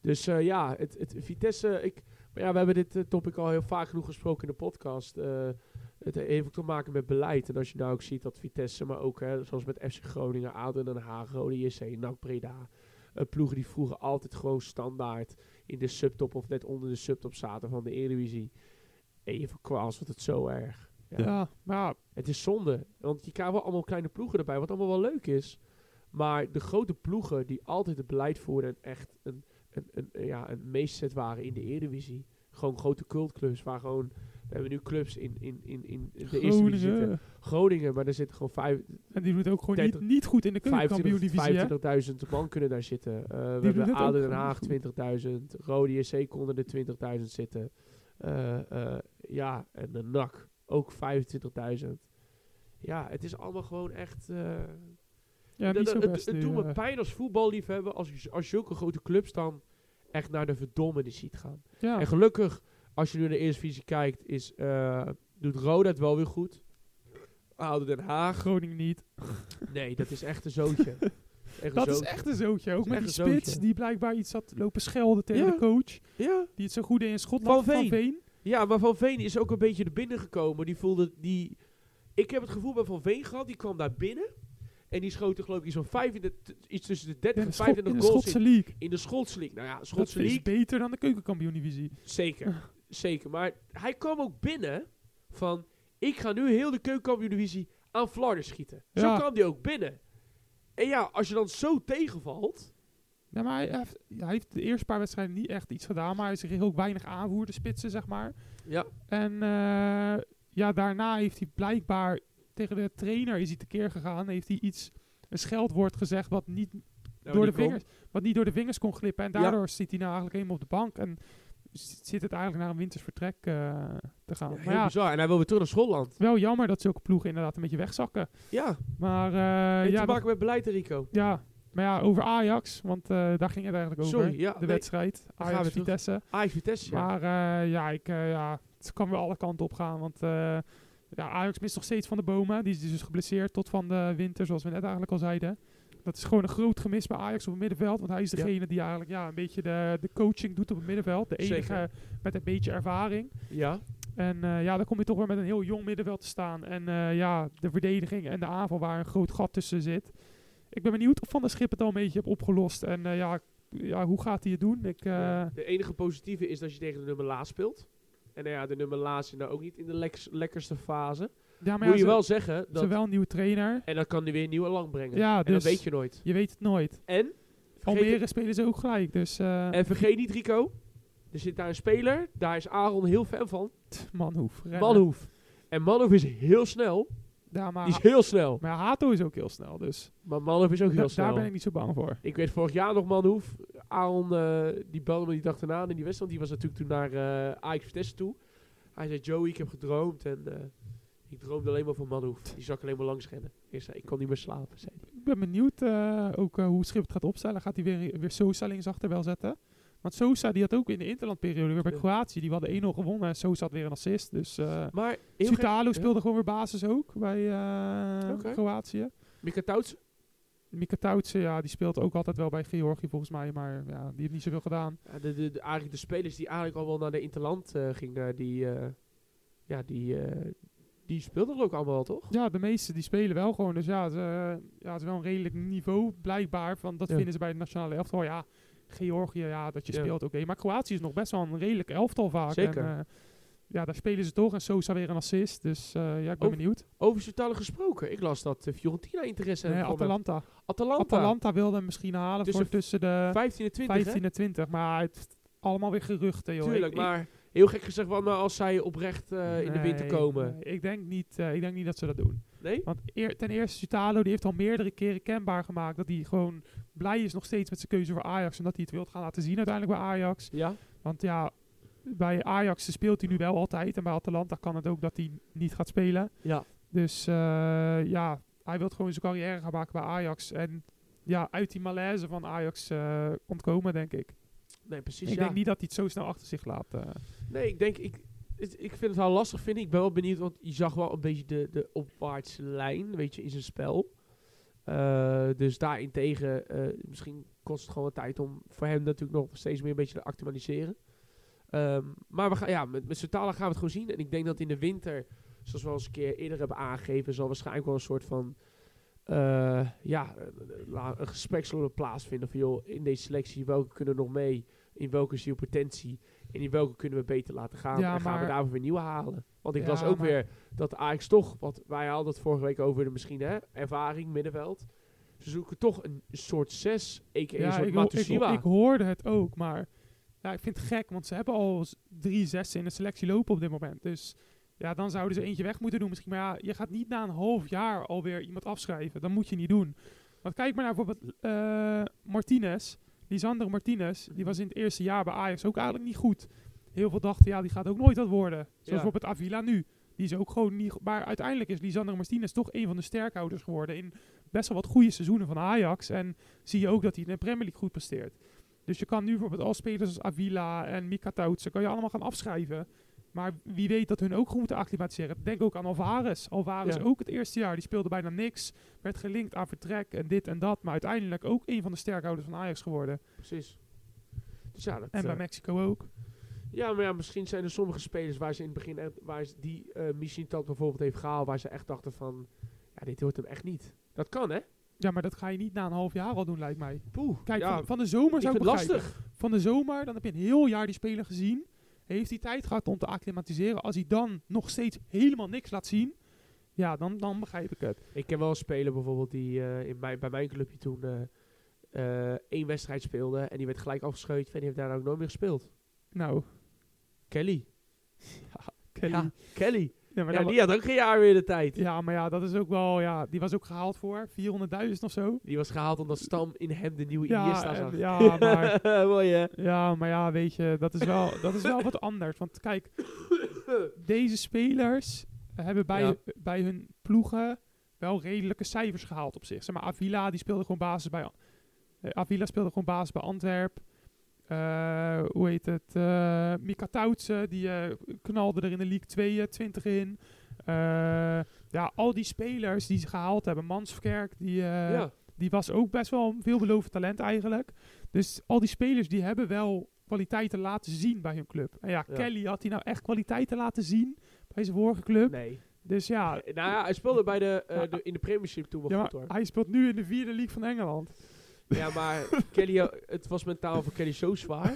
Speaker 1: Dus eh, ja, het, het Vitesse. Ik, maar ja, we hebben dit eh, topic al heel vaak genoeg gesproken in de podcast. Eh, het heeft ook te maken met beleid. En als je nou ook ziet dat Vitesse, maar ook hè, zoals met FC Groningen, ADO Den Haag, Rode JC, NAC Breda. eh, ploegen die vroeger altijd gewoon standaard in de subtop of net onder de subtop zaten van de Eredivisie. Even kwaals, wat het zo erg. Ja.
Speaker 2: ja. maar ja,
Speaker 1: Het is zonde, want je krijgt wel allemaal kleine ploegen erbij, wat allemaal wel leuk is. Maar de grote ploegen die altijd het beleid voeren en echt een een, een, ja, een meestzet waren in de Eredivisie. Gewoon grote cultclubs waar gewoon... We hebben nu clubs in, in, in, in de Eerste Divisie zitten.
Speaker 2: Groningen.
Speaker 1: Groningen, maar daar zitten gewoon vijf,
Speaker 2: En die doet ook gewoon niet,
Speaker 1: Dertig-
Speaker 2: niet goed in de keukenkampioen-divisie, hè?
Speaker 1: 25 25.000 man kunnen daar zitten. Eh, we
Speaker 2: doen
Speaker 1: hebben
Speaker 2: het
Speaker 1: ADO
Speaker 2: ook
Speaker 1: Den
Speaker 2: gewoon
Speaker 1: Haag
Speaker 2: goed.
Speaker 1: 20.000. Rode JC konden er 20.000 zitten. Eh, eh, ja, en de NAC ook 25.000. Ja, het is allemaal gewoon echt... eh,
Speaker 2: Ja,
Speaker 1: dat-
Speaker 2: niet zo
Speaker 1: het-
Speaker 2: best
Speaker 1: het
Speaker 2: nu,
Speaker 1: doet me
Speaker 2: eh.
Speaker 1: pijn als voetballiefhebber als, je z- als zulke grote clubs dan echt naar de verdommenis ziet gaan.
Speaker 2: Ja.
Speaker 1: En gelukkig, als je nu naar de eerste visie kijkt, is, eh, doet Roda het wel weer goed. ADO Den Haag.
Speaker 2: Groningen niet.
Speaker 1: Nee, dat is echt een zootje. Echt een
Speaker 2: Dat is
Speaker 1: zootje.
Speaker 2: echt een zootje ook.
Speaker 1: is
Speaker 2: Met
Speaker 1: echt
Speaker 2: die
Speaker 1: een
Speaker 2: spits
Speaker 1: zootje.
Speaker 2: die blijkbaar iets had lopen schelden tegen
Speaker 1: Ja.
Speaker 2: de coach.
Speaker 1: Ja.
Speaker 2: Die het zo goed deed in Schotland.
Speaker 1: Van Veen.
Speaker 2: Veen.
Speaker 1: Ja, maar Van Veen is ook een beetje er binnen gekomen. Die voelde die. Ik heb het gevoel bij Van Veen gehad, die kwam daar binnen. En die schoten geloof ik iets van 35, iets tussen de 30
Speaker 2: In de,
Speaker 1: en
Speaker 2: Schot- in de
Speaker 1: 35 goals
Speaker 2: Schotse
Speaker 1: in,
Speaker 2: League.
Speaker 1: in de Schotse League. Nou ja,
Speaker 2: Dat Ah.
Speaker 1: Schotse
Speaker 2: is
Speaker 1: League,
Speaker 2: beter dan de keukenkampioen-divisie.
Speaker 1: zeker. Zeker. Maar hij kwam ook binnen van, ik ga nu heel de keukenkampioen-divisie aan Vlaarders schieten. Zo
Speaker 2: Ja.
Speaker 1: kwam hij ook binnen. En ja, als je dan zo tegenvalt...
Speaker 2: Ja, maar hij heeft, hij heeft de eerste paar wedstrijden niet echt iets gedaan. Maar hij is heel weinig aanvoer, de spitsen, zeg maar.
Speaker 1: Ja.
Speaker 2: En eh, ja, daarna heeft hij blijkbaar tegen de trainer is hij tekeer gegaan. Heeft hij iets, een scheldwoord gezegd wat niet,
Speaker 1: Nou,
Speaker 2: door
Speaker 1: die
Speaker 2: de
Speaker 1: kwam-
Speaker 2: vingers, wat niet door de vingers kon glippen. En
Speaker 1: Ja.
Speaker 2: daardoor zit hij nou eigenlijk helemaal op de bank. En z- zit het eigenlijk naar een winters vertrek eh, te gaan.
Speaker 1: Ja,
Speaker 2: maar
Speaker 1: heel
Speaker 2: ja,
Speaker 1: bizar. En hij wil weer terug naar Schotland.
Speaker 2: wel jammer dat zulke ploegen inderdaad een beetje wegzakken.
Speaker 1: Ja,
Speaker 2: Maar eh,
Speaker 1: heeft
Speaker 2: ja,
Speaker 1: te
Speaker 2: dat-
Speaker 1: maken met beleid, Rico.
Speaker 2: ja, maar ja, over Ajax. Want eh, daar ging het eigenlijk over.
Speaker 1: Sorry, ja,
Speaker 2: de
Speaker 1: nee.
Speaker 2: wedstrijd.
Speaker 1: gaan we terug.
Speaker 2: Ajax-Vitesse.
Speaker 1: Ajax Vitesse. ja.
Speaker 2: Maar eh, ja, ik, eh, ja, het kan weer alle kanten op gaan. Want eh, ja, Ajax mist nog steeds van de bomen. Die is dus geblesseerd tot van de winter, zoals we net eigenlijk al zeiden. Dat is gewoon een groot gemis bij Ajax op het middenveld. Want hij is
Speaker 1: Ja.
Speaker 2: degene die eigenlijk ja, een beetje de, de coaching doet op het middenveld. De enige
Speaker 1: Zeker.
Speaker 2: met een beetje ervaring.
Speaker 1: Ja.
Speaker 2: En eh, ja, dan kom je toch weer met een heel jong middenveld te staan. En eh, ja, de verdediging en de aanval waar een groot gat tussen zit. Ik ben benieuwd of Van der Schip het al een beetje heeft opgelost. En eh, ja, ja, hoe gaat hij het doen? Ik, eh,
Speaker 1: Ja, De enige positieve is dat je tegen de nummer laat speelt. En nou ja, de nummer laat zit nou ook niet in de leks- lekkerste fase.
Speaker 2: ja, maar
Speaker 1: Moet
Speaker 2: ja,
Speaker 1: je
Speaker 2: ze-
Speaker 1: wel zeggen, dat,
Speaker 2: Zowel een nieuwe trainer.
Speaker 1: en dat kan hij weer nieuw lang brengen.
Speaker 2: Ja,
Speaker 1: en dat
Speaker 2: dus
Speaker 1: weet je nooit.
Speaker 2: je weet het nooit.
Speaker 1: En vergeet,
Speaker 2: Almere spelen ze ook gelijk. Dus eh
Speaker 1: en vergeet niet, Rico, er zit daar een speler, daar is Aaron heel fan van,
Speaker 2: Manhoef. rennen.
Speaker 1: Manhoef. En Manhoef is heel snel,
Speaker 2: Ja, maar,
Speaker 1: die is heel snel.
Speaker 2: maar Hato is ook heel snel. Dus
Speaker 1: Maar Manhoef is ook
Speaker 2: da-
Speaker 1: heel
Speaker 2: daar
Speaker 1: snel.
Speaker 2: ben ik
Speaker 1: Ik...
Speaker 2: niet zo bang voor.
Speaker 1: weet vorig jaar nog Manhoef, Aaron eh, die belde me die dag daarna in die wedstrijd, die was natuurlijk toen naar eh Ajax Vitesse toe. Hij zei, Joey, ik heb gedroomd en eh, ik droomde alleen maar van Manhoef. Die zag ik alleen maar langs rennen. Eerst zei, ik kon niet meer slapen, zei hij.
Speaker 2: Ik ben benieuwd eh, ook eh, hoe Schip het gaat opstellen. Gaat hij weer, weer Sosa linksachter wel zetten? Want Sosa die had ook in de interlandperiode weer bij
Speaker 1: Ja.
Speaker 2: Kroatië. Die hadden 1-0 gewonnen. En Sosa had weer een assist. Dus eh
Speaker 1: Maar, heel gek-
Speaker 2: Sutalo
Speaker 1: ja.
Speaker 2: speelde gewoon weer basis ook bij eh,
Speaker 1: Oké.
Speaker 2: Kroatië.
Speaker 1: Mika Tauts,
Speaker 2: Mika Tautse, ja, die speelt ook altijd wel bij Georgië volgens mij. Maar ja, die heeft niet zoveel gedaan.
Speaker 1: ja, de, de, de- eigenlijk de spelers die eigenlijk al wel naar de Interland eh, gingen, die, eh, ja, die, eh, die speelden er ook allemaal wel, toch?
Speaker 2: Ja, de meeste die spelen wel gewoon. Dus ja, ze, ja, het is wel een redelijk niveau blijkbaar. Van, dat
Speaker 1: Ja.
Speaker 2: vinden ze bij de nationale elftal. Ja, Georgië, ja, dat je
Speaker 1: Ja.
Speaker 2: speelt, oké. Maar Kroatië is nog best wel een redelijk elftal vaak.
Speaker 1: Zeker.
Speaker 2: En, eh, ja, daar spelen ze toch. En Sosa weer een assist. Dus eh, ja, ik ben
Speaker 1: Over-
Speaker 2: benieuwd.
Speaker 1: Over Sutalo gesproken, ik las dat eh, Fiorentina interesse
Speaker 2: Nee,
Speaker 1: heeft. Atalanta.
Speaker 2: Atalanta.
Speaker 1: Atalanta.
Speaker 2: Atalanta wilde hem misschien halen
Speaker 1: Tussen
Speaker 2: voor tussen de
Speaker 1: 15 en 20, hè?
Speaker 2: 15 en 20. Maar het is allemaal weer geruchten, joh.
Speaker 1: Tuurlijk,
Speaker 2: Ik- ik-
Speaker 1: maar heel gek gezegd, wat nou als zij oprecht eh, in de winter
Speaker 2: Nee,
Speaker 1: komen?
Speaker 2: nee, ik, denk niet, eh, ik denk niet dat ze dat doen.
Speaker 1: Nee?
Speaker 2: Want eer- ten eerste, Sutalo die heeft al meerdere keren kenbaar gemaakt dat hij gewoon blij is nog steeds met zijn keuze voor Ajax. En dat hij het wil gaan laten zien uiteindelijk bij Ajax.
Speaker 1: Ja?
Speaker 2: Want ja, bij Ajax speelt hij nu wel altijd. En bij Atalanta kan het ook dat hij niet gaat spelen.
Speaker 1: Ja.
Speaker 2: Dus eh, ja, hij wil gewoon zijn carrière gaan maken bij Ajax. En ja, uit die malaise van Ajax eh, ontkomen, denk ik.
Speaker 1: Nee, precies,
Speaker 2: Ik
Speaker 1: ja.
Speaker 2: denk niet dat hij het zo snel achter zich laat. eh.
Speaker 1: Nee, ik denk, ik, het- ik vind het wel lastig vinden. Ik ben wel benieuwd, want je zag wel een beetje de, de opwaartse lijn, weet je, in zijn spel. Eh, dus daarentegen, eh misschien kost het gewoon wat tijd om voor hem natuurlijk nog steeds meer een beetje te actualiseren. Ehm, maar we gaan, ja, met, met Sertala gaan we het gewoon zien. En ik denk dat in de winter, zoals we al eens een keer eerder hebben aangegeven, zal waarschijnlijk wel een soort van eh, ja, een- een- een gesprek zullen plaatsvinden. Van joh, in deze selectie, welke kunnen we nog mee? In welke zie je potentie? En in welke kunnen we beter laten gaan?
Speaker 2: Ja,
Speaker 1: en gaan we
Speaker 2: maar-
Speaker 1: daarvoor weer nieuwe halen? Want ik
Speaker 2: Ja,
Speaker 1: las ook
Speaker 2: maar-
Speaker 1: weer dat Ajax toch, want wij hadden het vorige week over de misschien hè, ervaring, middenveld. Ze zoeken toch een soort 6, a.k.a. een soort
Speaker 2: ik, ho- ik,
Speaker 1: Matusiwa.
Speaker 2: ho- ik hoorde het ook, maar ja, ik vind het gek, want ze hebben al s- drie zessen in de selectie lopen op dit moment. Dus ja, dan zouden ze eentje weg moeten doen misschien. Maar ja, je gaat niet na een half jaar alweer iemand afschrijven. Dat moet je niet doen. Want kijk maar naar bijvoorbeeld eh, Martinez. Lisandro Martinez, die was in het eerste jaar bij Ajax ook eigenlijk niet goed. Heel veel dachten, ja, die gaat ook nooit wat worden. Zoals
Speaker 1: Ja.
Speaker 2: bijvoorbeeld Avila nu. Die is ook gewoon niet... go- Maar uiteindelijk is Lisandro Martinez toch een van de sterkhouders geworden... in best wel wat goede seizoenen van Ajax. En zie je ook dat hij in de Premier League goed presteert. Dus je kan nu bijvoorbeeld al spelers als Avila en Mika Tautse... kan je allemaal gaan afschrijven. Maar wie weet dat hun ook goed moeten acclimatiseren. Denk ook aan Alvarez. Alvarez
Speaker 1: Ja.
Speaker 2: ook het eerste jaar. Die speelde bijna niks. Werd gelinkt aan vertrek en dit en dat. Maar uiteindelijk ook een van de sterkhouders van Ajax geworden.
Speaker 1: Precies. Dus ja, dat,
Speaker 2: En bij
Speaker 1: eh,
Speaker 2: Mexico ook.
Speaker 1: ja, maar ja, misschien zijn er sommige spelers waar ze in het begin echt, waar ze die eh Michin Tat bijvoorbeeld heeft gehaald, waar ze echt dachten van, ja, dit hoort hem echt niet. Dat kan, hè?
Speaker 2: Ja, maar dat ga je niet na een half jaar al doen, lijkt mij.
Speaker 1: Poeh.
Speaker 2: Kijk,
Speaker 1: ja,
Speaker 2: van, van de zomer
Speaker 1: ik
Speaker 2: zou
Speaker 1: vind
Speaker 2: ik
Speaker 1: het
Speaker 2: begrijpen.
Speaker 1: lastig.
Speaker 2: Van de zomer, dan heb je een heel jaar die speler gezien. Heeft hij tijd gehad om te acclimatiseren. Als hij dan nog steeds helemaal niks laat zien, ja, dan, dan begrijp ik het.
Speaker 1: Ik ken wel een speler bijvoorbeeld die eh, in mijn, bij mijn clubje toen eh, eh, één wedstrijd speelde en die werd gelijk afgescheurd en die heeft daarna ook nooit meer gespeeld.
Speaker 2: Nou,
Speaker 1: Kelly.
Speaker 2: Kelly.
Speaker 1: Ja,
Speaker 2: Ja,
Speaker 1: Kelly.
Speaker 2: maar
Speaker 1: ja,
Speaker 2: dan-
Speaker 1: die had ook geen jaar meer de tijd.
Speaker 2: ja, maar ja, dat is ook wel, ja, die was ook gehaald voor 400.000 of zo.
Speaker 1: Die was gehaald omdat Stam in hem de nieuwe Iniesta
Speaker 2: Ja,
Speaker 1: zag.
Speaker 2: en- ja, maar,
Speaker 1: Mooi, hè?
Speaker 2: ja, maar ja, weet je, dat is, wel, dat is wel wat anders. Want kijk, deze spelers hebben bij,
Speaker 1: Ja.
Speaker 2: bij hun ploegen wel redelijke cijfers gehaald op zich. Zeg maar, Avila die speelde gewoon basis bij eh, Avila speelde gewoon basis bij Antwerp. Eh, hoe heet het? eh Mika Tautse, die eh, knalde er in de League 2 eh, 20 in. Eh, ja, al die spelers die ze gehaald hebben. Mansverkerk, die, eh,
Speaker 1: ja.
Speaker 2: die was ook best wel een veelbelovend talent eigenlijk. Dus al die spelers die hebben wel kwaliteiten laten zien bij hun club. En ja,
Speaker 1: Ja.
Speaker 2: Kelly had hij nou echt kwaliteiten laten zien bij zijn vorige club.
Speaker 1: Nee.
Speaker 2: Dus ja,
Speaker 1: Nou ja, hij speelde bij de, eh,
Speaker 2: Ja.
Speaker 1: de- in de Premiership toen wel
Speaker 2: ja,
Speaker 1: goed,
Speaker 2: maar
Speaker 1: hoor.
Speaker 2: hij speelt nu in de vierde league van Engeland.
Speaker 1: Ja, maar Kelly, eh, het was mentaal voor Kelly zo zwaar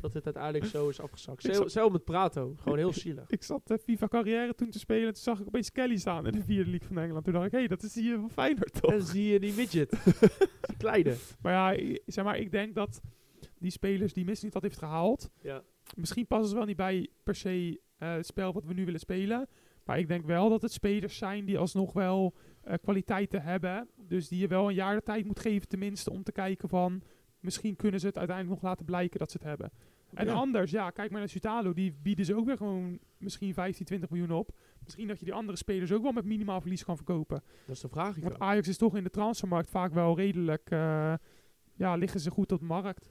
Speaker 1: dat het uiteindelijk zo is afgezakt.
Speaker 2: Ik
Speaker 1: Zelf
Speaker 2: zat-
Speaker 1: zelf met Prato. Gewoon heel zielig.
Speaker 2: Ik zat eh, FIFA carrière toen te spelen en toen zag ik opeens Kelly staan in de vierde league van Engeland. Toen dacht ik, hé, hey, dat is die eh, van Feyenoord toch?
Speaker 1: En zie je die midget. Die kleine.
Speaker 2: Maar ja, i- zeg maar, ik denk dat die spelers die Messi niet had heeft gehaald,
Speaker 1: Ja.
Speaker 2: misschien passen ze wel niet bij per se eh, het spel wat we nu willen spelen. Maar ik denk wel dat het spelers zijn die alsnog wel eh, kwaliteiten hebben. Dus die je wel een jaar de tijd moet geven tenminste om te kijken van... Misschien kunnen ze het uiteindelijk nog laten blijken dat ze het hebben. En
Speaker 1: Ja.
Speaker 2: anders, ja, kijk maar naar Sutalo. Die bieden ze ook weer gewoon misschien 15, 20 miljoen op. Misschien dat je die andere spelers ook wel met minimaal verlies kan verkopen.
Speaker 1: Dat is de vraag.
Speaker 2: Want
Speaker 1: Ik
Speaker 2: Ajax is toch in de transfermarkt vaak wel redelijk... eh, ja, liggen ze goed op de markt.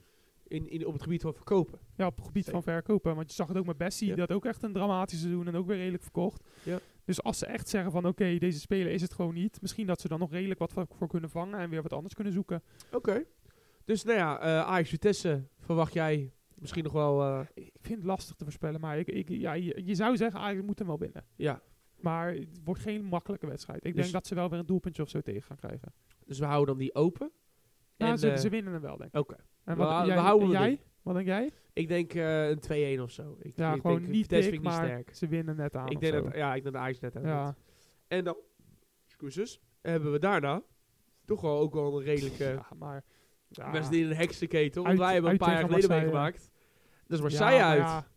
Speaker 1: in, in, op het gebied van verkopen.
Speaker 2: Ja, op het gebied van verkopen. Want je zag het ook met Bessie.
Speaker 1: Ja.
Speaker 2: Die had ook echt een dramatisch seizoen en ook weer redelijk verkocht.
Speaker 1: Ja.
Speaker 2: Dus als ze echt zeggen van oké, deze speler is het gewoon niet. Misschien dat ze dan nog redelijk wat va- voor kunnen vangen en weer wat anders kunnen zoeken.
Speaker 1: Oké. Dus nou ja, eh Ajax Vitesse verwacht jij misschien nog wel... eh,
Speaker 2: Ik ik vind het lastig te voorspellen. Maar ik, ik, ja, je, je zou zeggen eigenlijk moet hem wel winnen.
Speaker 1: ja,
Speaker 2: Maar het wordt geen makkelijke wedstrijd. Ik
Speaker 1: Dus-
Speaker 2: denk dat ze wel weer een doelpuntje of zo tegen gaan krijgen.
Speaker 1: dus we houden dan die open.
Speaker 2: Nou,
Speaker 1: En,
Speaker 2: ze,
Speaker 1: eh,
Speaker 2: ze winnen hem wel, denk ik.
Speaker 1: Oké. we
Speaker 2: En wat,
Speaker 1: hou-
Speaker 2: jij,
Speaker 1: we houden
Speaker 2: en
Speaker 1: hem
Speaker 2: jij? Wat denk jij?
Speaker 1: Ik denk eh, een 2-1 of zo. Ik,
Speaker 2: Ja,
Speaker 1: ik
Speaker 2: gewoon
Speaker 1: denk,
Speaker 2: niet
Speaker 1: Vitesse
Speaker 2: dik,
Speaker 1: vind ik niet
Speaker 2: maar
Speaker 1: sterk.
Speaker 2: ze winnen net aan.
Speaker 1: Ik
Speaker 2: of
Speaker 1: denk
Speaker 2: zo.
Speaker 1: dat, ja, ik denk dat Ajax net aan
Speaker 2: ja.
Speaker 1: doet. En dan, excuses, hebben we daarna toch wel ook wel een redelijke...
Speaker 2: Ja, maar... ja.
Speaker 1: Mensen die in een heksenketel, want
Speaker 2: Uit-
Speaker 1: wij hebben een
Speaker 2: uit
Speaker 1: paar jaar
Speaker 2: tegen
Speaker 1: geleden
Speaker 2: Marseille.
Speaker 1: meegemaakt. Dat is Marseille
Speaker 2: maar
Speaker 1: uit.
Speaker 2: ja,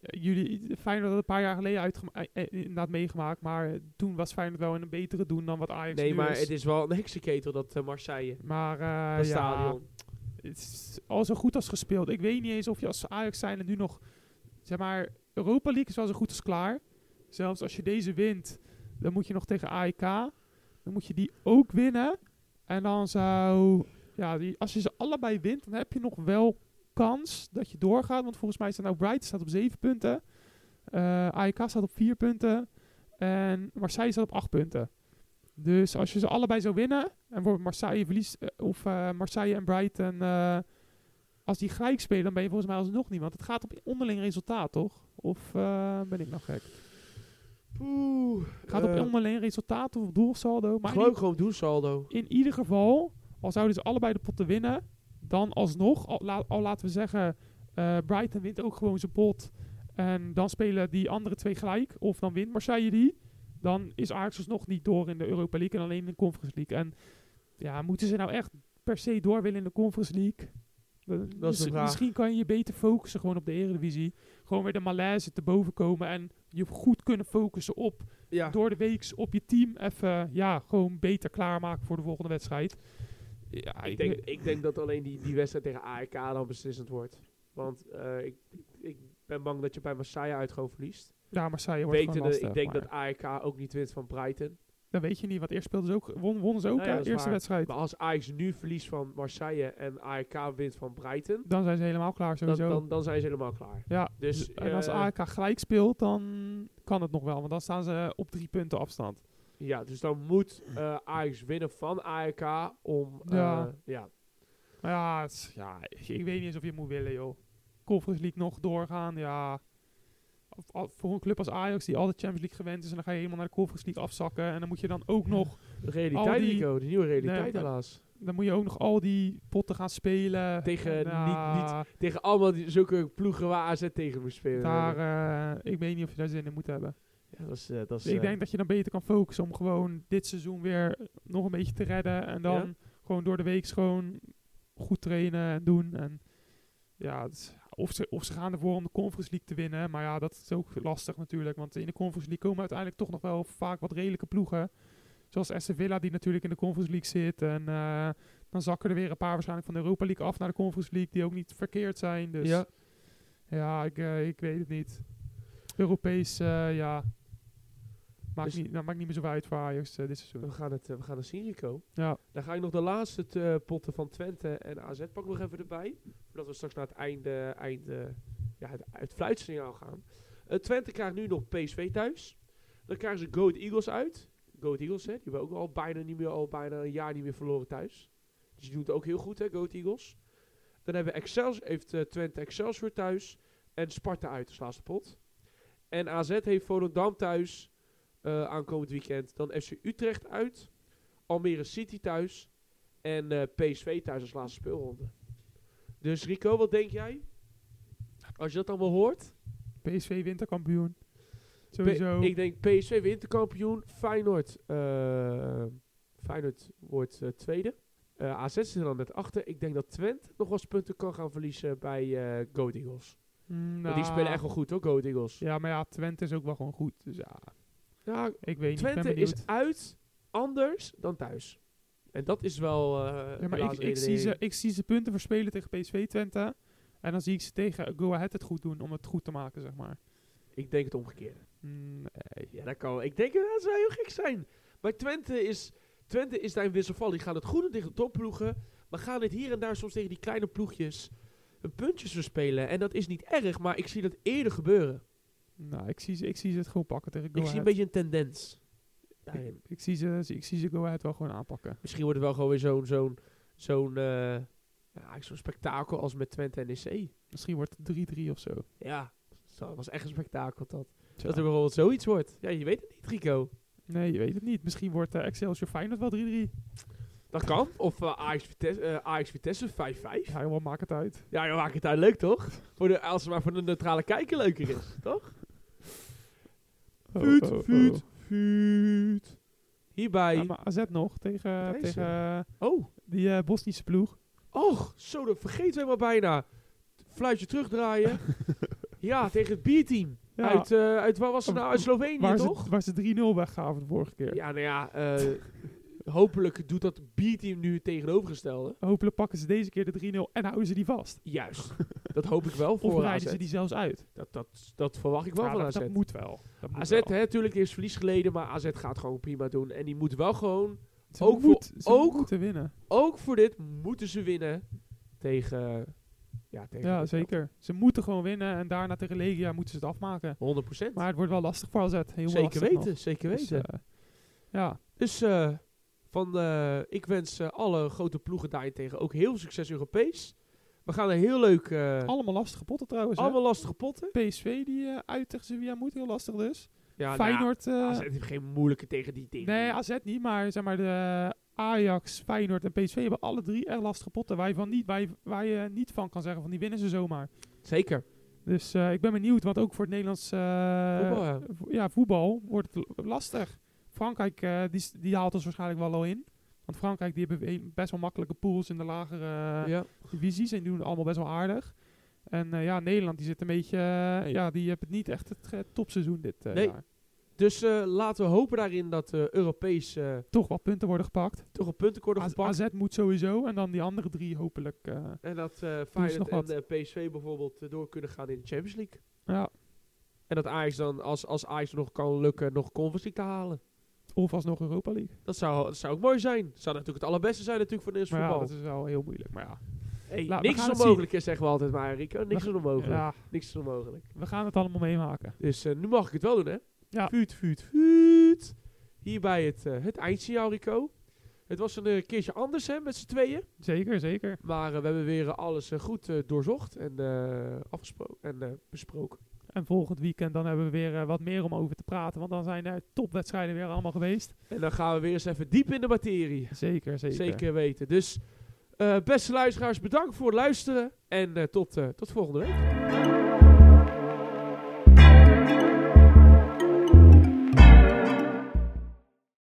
Speaker 2: eh, jullie, Feyenoord had een paar jaar geleden uitgema- eh, eh, inderdaad meegemaakt, maar eh, toen was Feyenoord wel in een betere doen dan wat Ajax
Speaker 1: nee,
Speaker 2: nu
Speaker 1: maar
Speaker 2: is.
Speaker 1: het is wel een heksenketel, dat eh, Marseille.
Speaker 2: maar eh,
Speaker 1: dat
Speaker 2: ja,
Speaker 1: stadion.
Speaker 2: het is al zo goed als gespeeld. Ik weet niet eens of je als Ajax zijn en nu nog, zeg maar, Europa League is wel zo goed als klaar. Zelfs als je deze wint, dan moet je nog tegen AEK, dan moet je die ook winnen. En dan zou, ja, die, als je ze allebei wint, dan heb je nog wel kans dat je doorgaat. Want volgens mij staat nou Bright staat op 7 punten, Eh AEK staat op 4 punten en Marseille staat op 8 punten. Dus als je ze allebei zou winnen, en wordt Marseille verliest, eh, of eh, Marseille en Brighton, eh, als die gelijk spelen, dan ben je volgens mij alsnog niet. Want het gaat op onderling resultaat, toch? Of eh, ben ik nou gek?
Speaker 1: Poeh.
Speaker 2: Gaat het
Speaker 1: eh,
Speaker 2: op onderling resultaat of op doelsaldo? Maar in,
Speaker 1: Gewoon, gewoon doelsaldo.
Speaker 2: i- in ieder geval, al zouden ze allebei de potten winnen, dan alsnog, al, la- al laten we zeggen, eh, Brighton wint ook gewoon zijn pot. En dan spelen die andere twee gelijk, of dan dus wint Marseille die. Dan is Ajax nog niet door in de Europa League en alleen in de Conference League. En ja, moeten ze nou echt per se door willen in de Conference League?
Speaker 1: de
Speaker 2: Miss-
Speaker 1: vraag.
Speaker 2: Misschien kan je je beter focussen gewoon op de Eredivisie. Gewoon weer de malaise te boven komen en je goed kunnen focussen op
Speaker 1: Ja.
Speaker 2: Ah. door de weeks op je team even ja, gewoon beter klaarmaken voor de volgende wedstrijd. Ja,
Speaker 1: Ik denk, ik denk dat alleen die, die wedstrijd tegen AEK dan beslissend wordt. Want eh, ik, ik ben bang dat je bij Marseille uit gewoon verliest.
Speaker 2: ja, Marseille wordt gewoon
Speaker 1: Wetende,
Speaker 2: lastig.
Speaker 1: ik denk
Speaker 2: maar
Speaker 1: dat AEK ook niet wint van Brighton.
Speaker 2: Dan weet je niet, want eerst speelden ze ook, won, wonnen ze ook
Speaker 1: Nou ja,
Speaker 2: hè,
Speaker 1: dat is
Speaker 2: eerste
Speaker 1: waar.
Speaker 2: wedstrijd.
Speaker 1: Maar als Ajax nu verliest van Marseille en AEK wint van Brighton,
Speaker 2: Dan zijn ze helemaal klaar
Speaker 1: dan,
Speaker 2: sowieso.
Speaker 1: dan, dan zijn ze helemaal klaar.
Speaker 2: ja,
Speaker 1: Dus,
Speaker 2: en als
Speaker 1: eh,
Speaker 2: AEK gelijk speelt, dan kan het nog wel. Want dan staan ze op drie punten afstand.
Speaker 1: Ja, dus dan moet eh Ajax winnen van AEK om... eh,
Speaker 2: Ja.
Speaker 1: ja.
Speaker 2: Maar ja, het is- ja, ik ik weet niet eens of je het moet willen, joh. Conference League nog doorgaan, ja. Of- of Voor een club als Ajax, die altijd Champions League gewend is... en dan ga je helemaal naar de Conference League afzakken... en dan moet je dan ook nog,
Speaker 1: De realiteit,
Speaker 2: Al die-
Speaker 1: Nico. De nieuwe realiteit
Speaker 2: Nee, maar-
Speaker 1: helaas.
Speaker 2: dan moet je ook nog al die potten gaan spelen.
Speaker 1: Tegen
Speaker 2: En,
Speaker 1: niet- niet-
Speaker 2: ah,
Speaker 1: Tegen allemaal die, zulke ploegen waar AZ tegen moet spelen.
Speaker 2: Daar, eh, ik weet niet of je daar zin in moet hebben.
Speaker 1: ja, dat is, eh, dat is,
Speaker 2: Dus ik
Speaker 1: eh,
Speaker 2: denk dat je dan beter kan focussen om gewoon dit seizoen weer nog een beetje te redden. En dan gewoon door de week gewoon goed trainen en doen. En ja, het is- of, ze, of ze gaan ervoor om de Conference League te winnen. Maar ja, dat is ook lastig natuurlijk. Want in de Conference League komen uiteindelijk toch nog wel vaak wat redelijke ploegen. Zoals SC Villa die natuurlijk in de Conference League zit. En eh, dan zakken er weer een paar waarschijnlijk van de Europa League af naar de Conference League. Die ook niet verkeerd zijn. Dus
Speaker 1: Ja.
Speaker 2: ja, ik, eh, ik weet het niet. Europees, eh, ja. Maakt,
Speaker 1: Dus-
Speaker 2: niet, nou, maakt niet meer zoveel uit voor Ajax eh, dit seizoen.
Speaker 1: We gaan het, eh, we gaan het zien, Rico.
Speaker 2: Ja.
Speaker 1: Dan ga ik nog de laatste eh, potten van Twente en AZ pak ik nog even erbij. Voordat we straks naar het einde, einde ja, het, het fluitsignaal gaan. Eh, Twente krijgt nu nog PSV thuis. Dan krijgen ze Goat Eagles uit. Goat Eagles, hè, die hebben ook al bijna, niet meer, al bijna een jaar niet meer verloren thuis. Dus die doen het ook heel goed, hè, Goat Eagles. Dan hebben we Excels, heeft eh, Twente Excelsior thuis. En Sparta uit, de laatste pot. En AZ heeft Volendam thuis eh, aankomend weekend. Dan FC Utrecht uit. Almere City thuis. En eh, PSV thuis als laatste speelronde. Dus Rico, wat denk jij? Als je dat allemaal hoort.
Speaker 2: PSV winterkampioen.
Speaker 1: P-
Speaker 2: Sowieso.
Speaker 1: ik denk PSV winterkampioen. Feyenoord, eh, Feyenoord wordt eh, tweede. Eh AZ zit er dan net achter. Ik denk dat Twente nog wel eens punten kan gaan verliezen bij eh Go Eagles.
Speaker 2: Mm,
Speaker 1: Want die
Speaker 2: nou,
Speaker 1: spelen echt wel goed hoor, Go Eagles. Ja,
Speaker 2: Ja, maar ja, Twente is ook wel gewoon goed. Dus ja, ik weet niet.
Speaker 1: Twente
Speaker 2: Ik ben benieuwd.
Speaker 1: is uit anders dan thuis. En dat is wel... eh,
Speaker 2: Ja, maar
Speaker 1: helaas
Speaker 2: ik,
Speaker 1: een
Speaker 2: ik, zie
Speaker 1: redenering.
Speaker 2: ze, ik zie ze punten verspelen tegen PSV Twente. En dan zie ik ze tegen Go Ahead het goed doen om het goed te maken, zeg maar.
Speaker 1: Ik denk het omgekeerde.
Speaker 2: Mm, nee.
Speaker 1: Ja, dat kan. Ik denk dat zou heel gek zijn. Maar Twente is, Twente is daarin wisselvallig. Die gaan het goed doen tegen de topploegen. Maar gaan het hier en daar soms tegen die kleine ploegjes hun puntjes verspelen. En dat is niet erg, maar ik zie dat eerder gebeuren.
Speaker 2: Nou, ik zie, ze, ik zie ze het gewoon pakken tegen Go
Speaker 1: ik zie een
Speaker 2: Ahead.
Speaker 1: beetje een tendens. daarin.
Speaker 2: ik, ik zie ze, ik zie ze Go Ahead wel gewoon aanpakken.
Speaker 1: Misschien wordt het wel gewoon weer zo'n zo'n zo'n eh, ja, eigenlijk zo'n spektakel als met Twente en NEC.
Speaker 2: Misschien wordt het 3-3 of zo.
Speaker 1: Ja, dat was echt een spektakel dat.
Speaker 2: Tja.
Speaker 1: Dat er bijvoorbeeld zoiets wordt. Ja, je weet het niet, Rico.
Speaker 2: Nee, je weet het niet. Misschien wordt eh, Excelsior Feyenoord wel 3-3.
Speaker 1: Dat kan. Of eh, Ajax Vitesse, eh, Ajax Vitesse 5-5.
Speaker 2: Ja, joh, maakt het uit.
Speaker 1: Ja, dan maakt het daar leuk, toch? Voor de, als het maar voor de neutrale kijker leuker is, toch?
Speaker 2: Oh,
Speaker 1: Vuut,
Speaker 2: oh, oh.
Speaker 1: vuut, vuut. Hierbij.
Speaker 2: Ja, maar AZ nog tegen,
Speaker 1: Deze.
Speaker 2: tegen eh,
Speaker 1: oh,
Speaker 2: die eh, Bosnische ploeg.
Speaker 1: och, zo, dat vergeten we helemaal bijna. Fluitje terugdraaien. ja, tegen het bierteam.
Speaker 2: Ja, Oh,
Speaker 1: Uit, eh, uit, waar was ze nou? Uit Slovenië,
Speaker 2: waar,
Speaker 1: toch?
Speaker 2: ze, waar ze 3-0 weggaven de vorige keer.
Speaker 1: Ja, nou ja, eh, hopelijk doet dat bierteam nu het tegenovergestelde.
Speaker 2: Hopelijk pakken ze deze keer de 3-0 en houden ze die vast.
Speaker 1: Juist, dat hoop ik wel
Speaker 2: Of
Speaker 1: voor AZ.
Speaker 2: rijden ze die zelfs uit.
Speaker 1: Dat, dat, dat verwacht ik wel
Speaker 2: Ja,
Speaker 1: van
Speaker 2: dat,
Speaker 1: AZ.
Speaker 2: dat moet wel. Dat moet
Speaker 1: AZ,
Speaker 2: wel.
Speaker 1: hè, natuurlijk is verlies geleden, maar AZ gaat gewoon prima doen. En die moet wel gewoon
Speaker 2: Ze,
Speaker 1: ook
Speaker 2: moet,
Speaker 1: voor-
Speaker 2: ze
Speaker 1: ook-
Speaker 2: moeten winnen.
Speaker 1: ook voor dit moeten ze winnen tegen. Ja, tegen
Speaker 2: Ja, zeker. Ze moeten gewoon winnen en daarna tegen Legia moeten ze het afmaken.
Speaker 1: 100 procent.
Speaker 2: Maar het wordt wel lastig voor AZ. Heel
Speaker 1: Zeker
Speaker 2: lastig
Speaker 1: weten,
Speaker 2: nog.
Speaker 1: zeker
Speaker 2: Dus,
Speaker 1: weten. Dus,
Speaker 2: eh, ja,
Speaker 1: eh, van, eh, ik wens eh, alle grote ploegen daarentegen ook heel veel succes Europees. We gaan een heel leuk. eh,
Speaker 2: allemaal lastige potten trouwens. hè.
Speaker 1: allemaal lastige potten.
Speaker 2: PSV die eh, uit tegen Sevilla moet, heel lastig dus.
Speaker 1: Ja,
Speaker 2: Feyenoord... eh,
Speaker 1: Nou, AZ heeft geen moeilijke tegen die tegen.
Speaker 2: nee, AZ niet, maar zeg maar de Ajax, Feyenoord en PSV hebben alle drie echt lastige potten. Waar je, van niet, waar, je, waar je niet van kan zeggen, van die winnen ze zomaar.
Speaker 1: zeker.
Speaker 2: Dus eh, ik ben benieuwd, want ook voor het Nederlands eh,
Speaker 1: Voetbal, ja.
Speaker 2: vo- ja, voetbal wordt het l- lastig. Frankrijk, eh, die, s- die haalt ons waarschijnlijk wel al in. Want Frankrijk die hebben we- best wel makkelijke pools in de lagere eh,
Speaker 1: ja.
Speaker 2: divisies. En die doen het allemaal best wel aardig. En eh, ja, Nederland die zit een beetje... eh, ja, die hebben het niet echt het eh, topseizoen dit eh,
Speaker 1: Nee.
Speaker 2: jaar.
Speaker 1: Dus eh, laten we hopen daarin dat eh, Europees eh,
Speaker 2: Toch wat punten worden gepakt.
Speaker 1: toch een puntenkorter
Speaker 2: A-
Speaker 1: gepakt.
Speaker 2: AZ moet sowieso. En dan die andere drie hopelijk... eh,
Speaker 1: En dat eh
Speaker 2: nog
Speaker 1: Feyenoord en
Speaker 2: wat.
Speaker 1: eh, PSV bijvoorbeeld eh, door kunnen gaan in de Champions League.
Speaker 2: ja,
Speaker 1: En dat Ajax dan, als, als Ajax nog kan lukken, nog Conference League te halen.
Speaker 2: of alsnog Europa League.
Speaker 1: Dat zou, dat zou ook mooi zijn. Dat zou natuurlijk het allerbeste zijn natuurlijk voor Nederlands
Speaker 2: Maar ja,
Speaker 1: voetbal.
Speaker 2: dat is wel heel moeilijk. Maar ja,
Speaker 1: Hey,
Speaker 2: La- we
Speaker 1: niks
Speaker 2: gaan
Speaker 1: is
Speaker 2: het
Speaker 1: onmogelijk, hè, zeggen we altijd maar, Rico. Niks
Speaker 2: We-
Speaker 1: is onmogelijk.
Speaker 2: ja,
Speaker 1: Niks is onmogelijk.
Speaker 2: we gaan het allemaal meemaken.
Speaker 1: Dus eh, nu mag ik het wel doen, hè?
Speaker 2: Ja.
Speaker 1: Vuut, vuut, vuut. Hier bij het, eh, het eindsignaal, Rico. Het was een eh, keertje anders, hè, met z'n tweeën.
Speaker 2: Zeker, zeker.
Speaker 1: Maar eh, we hebben weer eh, alles eh, goed eh, doorzocht en eh, afgesproken en eh, besproken.
Speaker 2: En volgend weekend dan hebben we weer eh, wat meer om over te praten. Want dan zijn er topwedstrijden weer allemaal geweest.
Speaker 1: En dan gaan we weer eens even diep in de materie.
Speaker 2: Zeker, zeker.
Speaker 1: Zeker, weten. Dus eh, beste luisteraars, bedankt voor het luisteren. En eh, tot, eh, tot volgende week.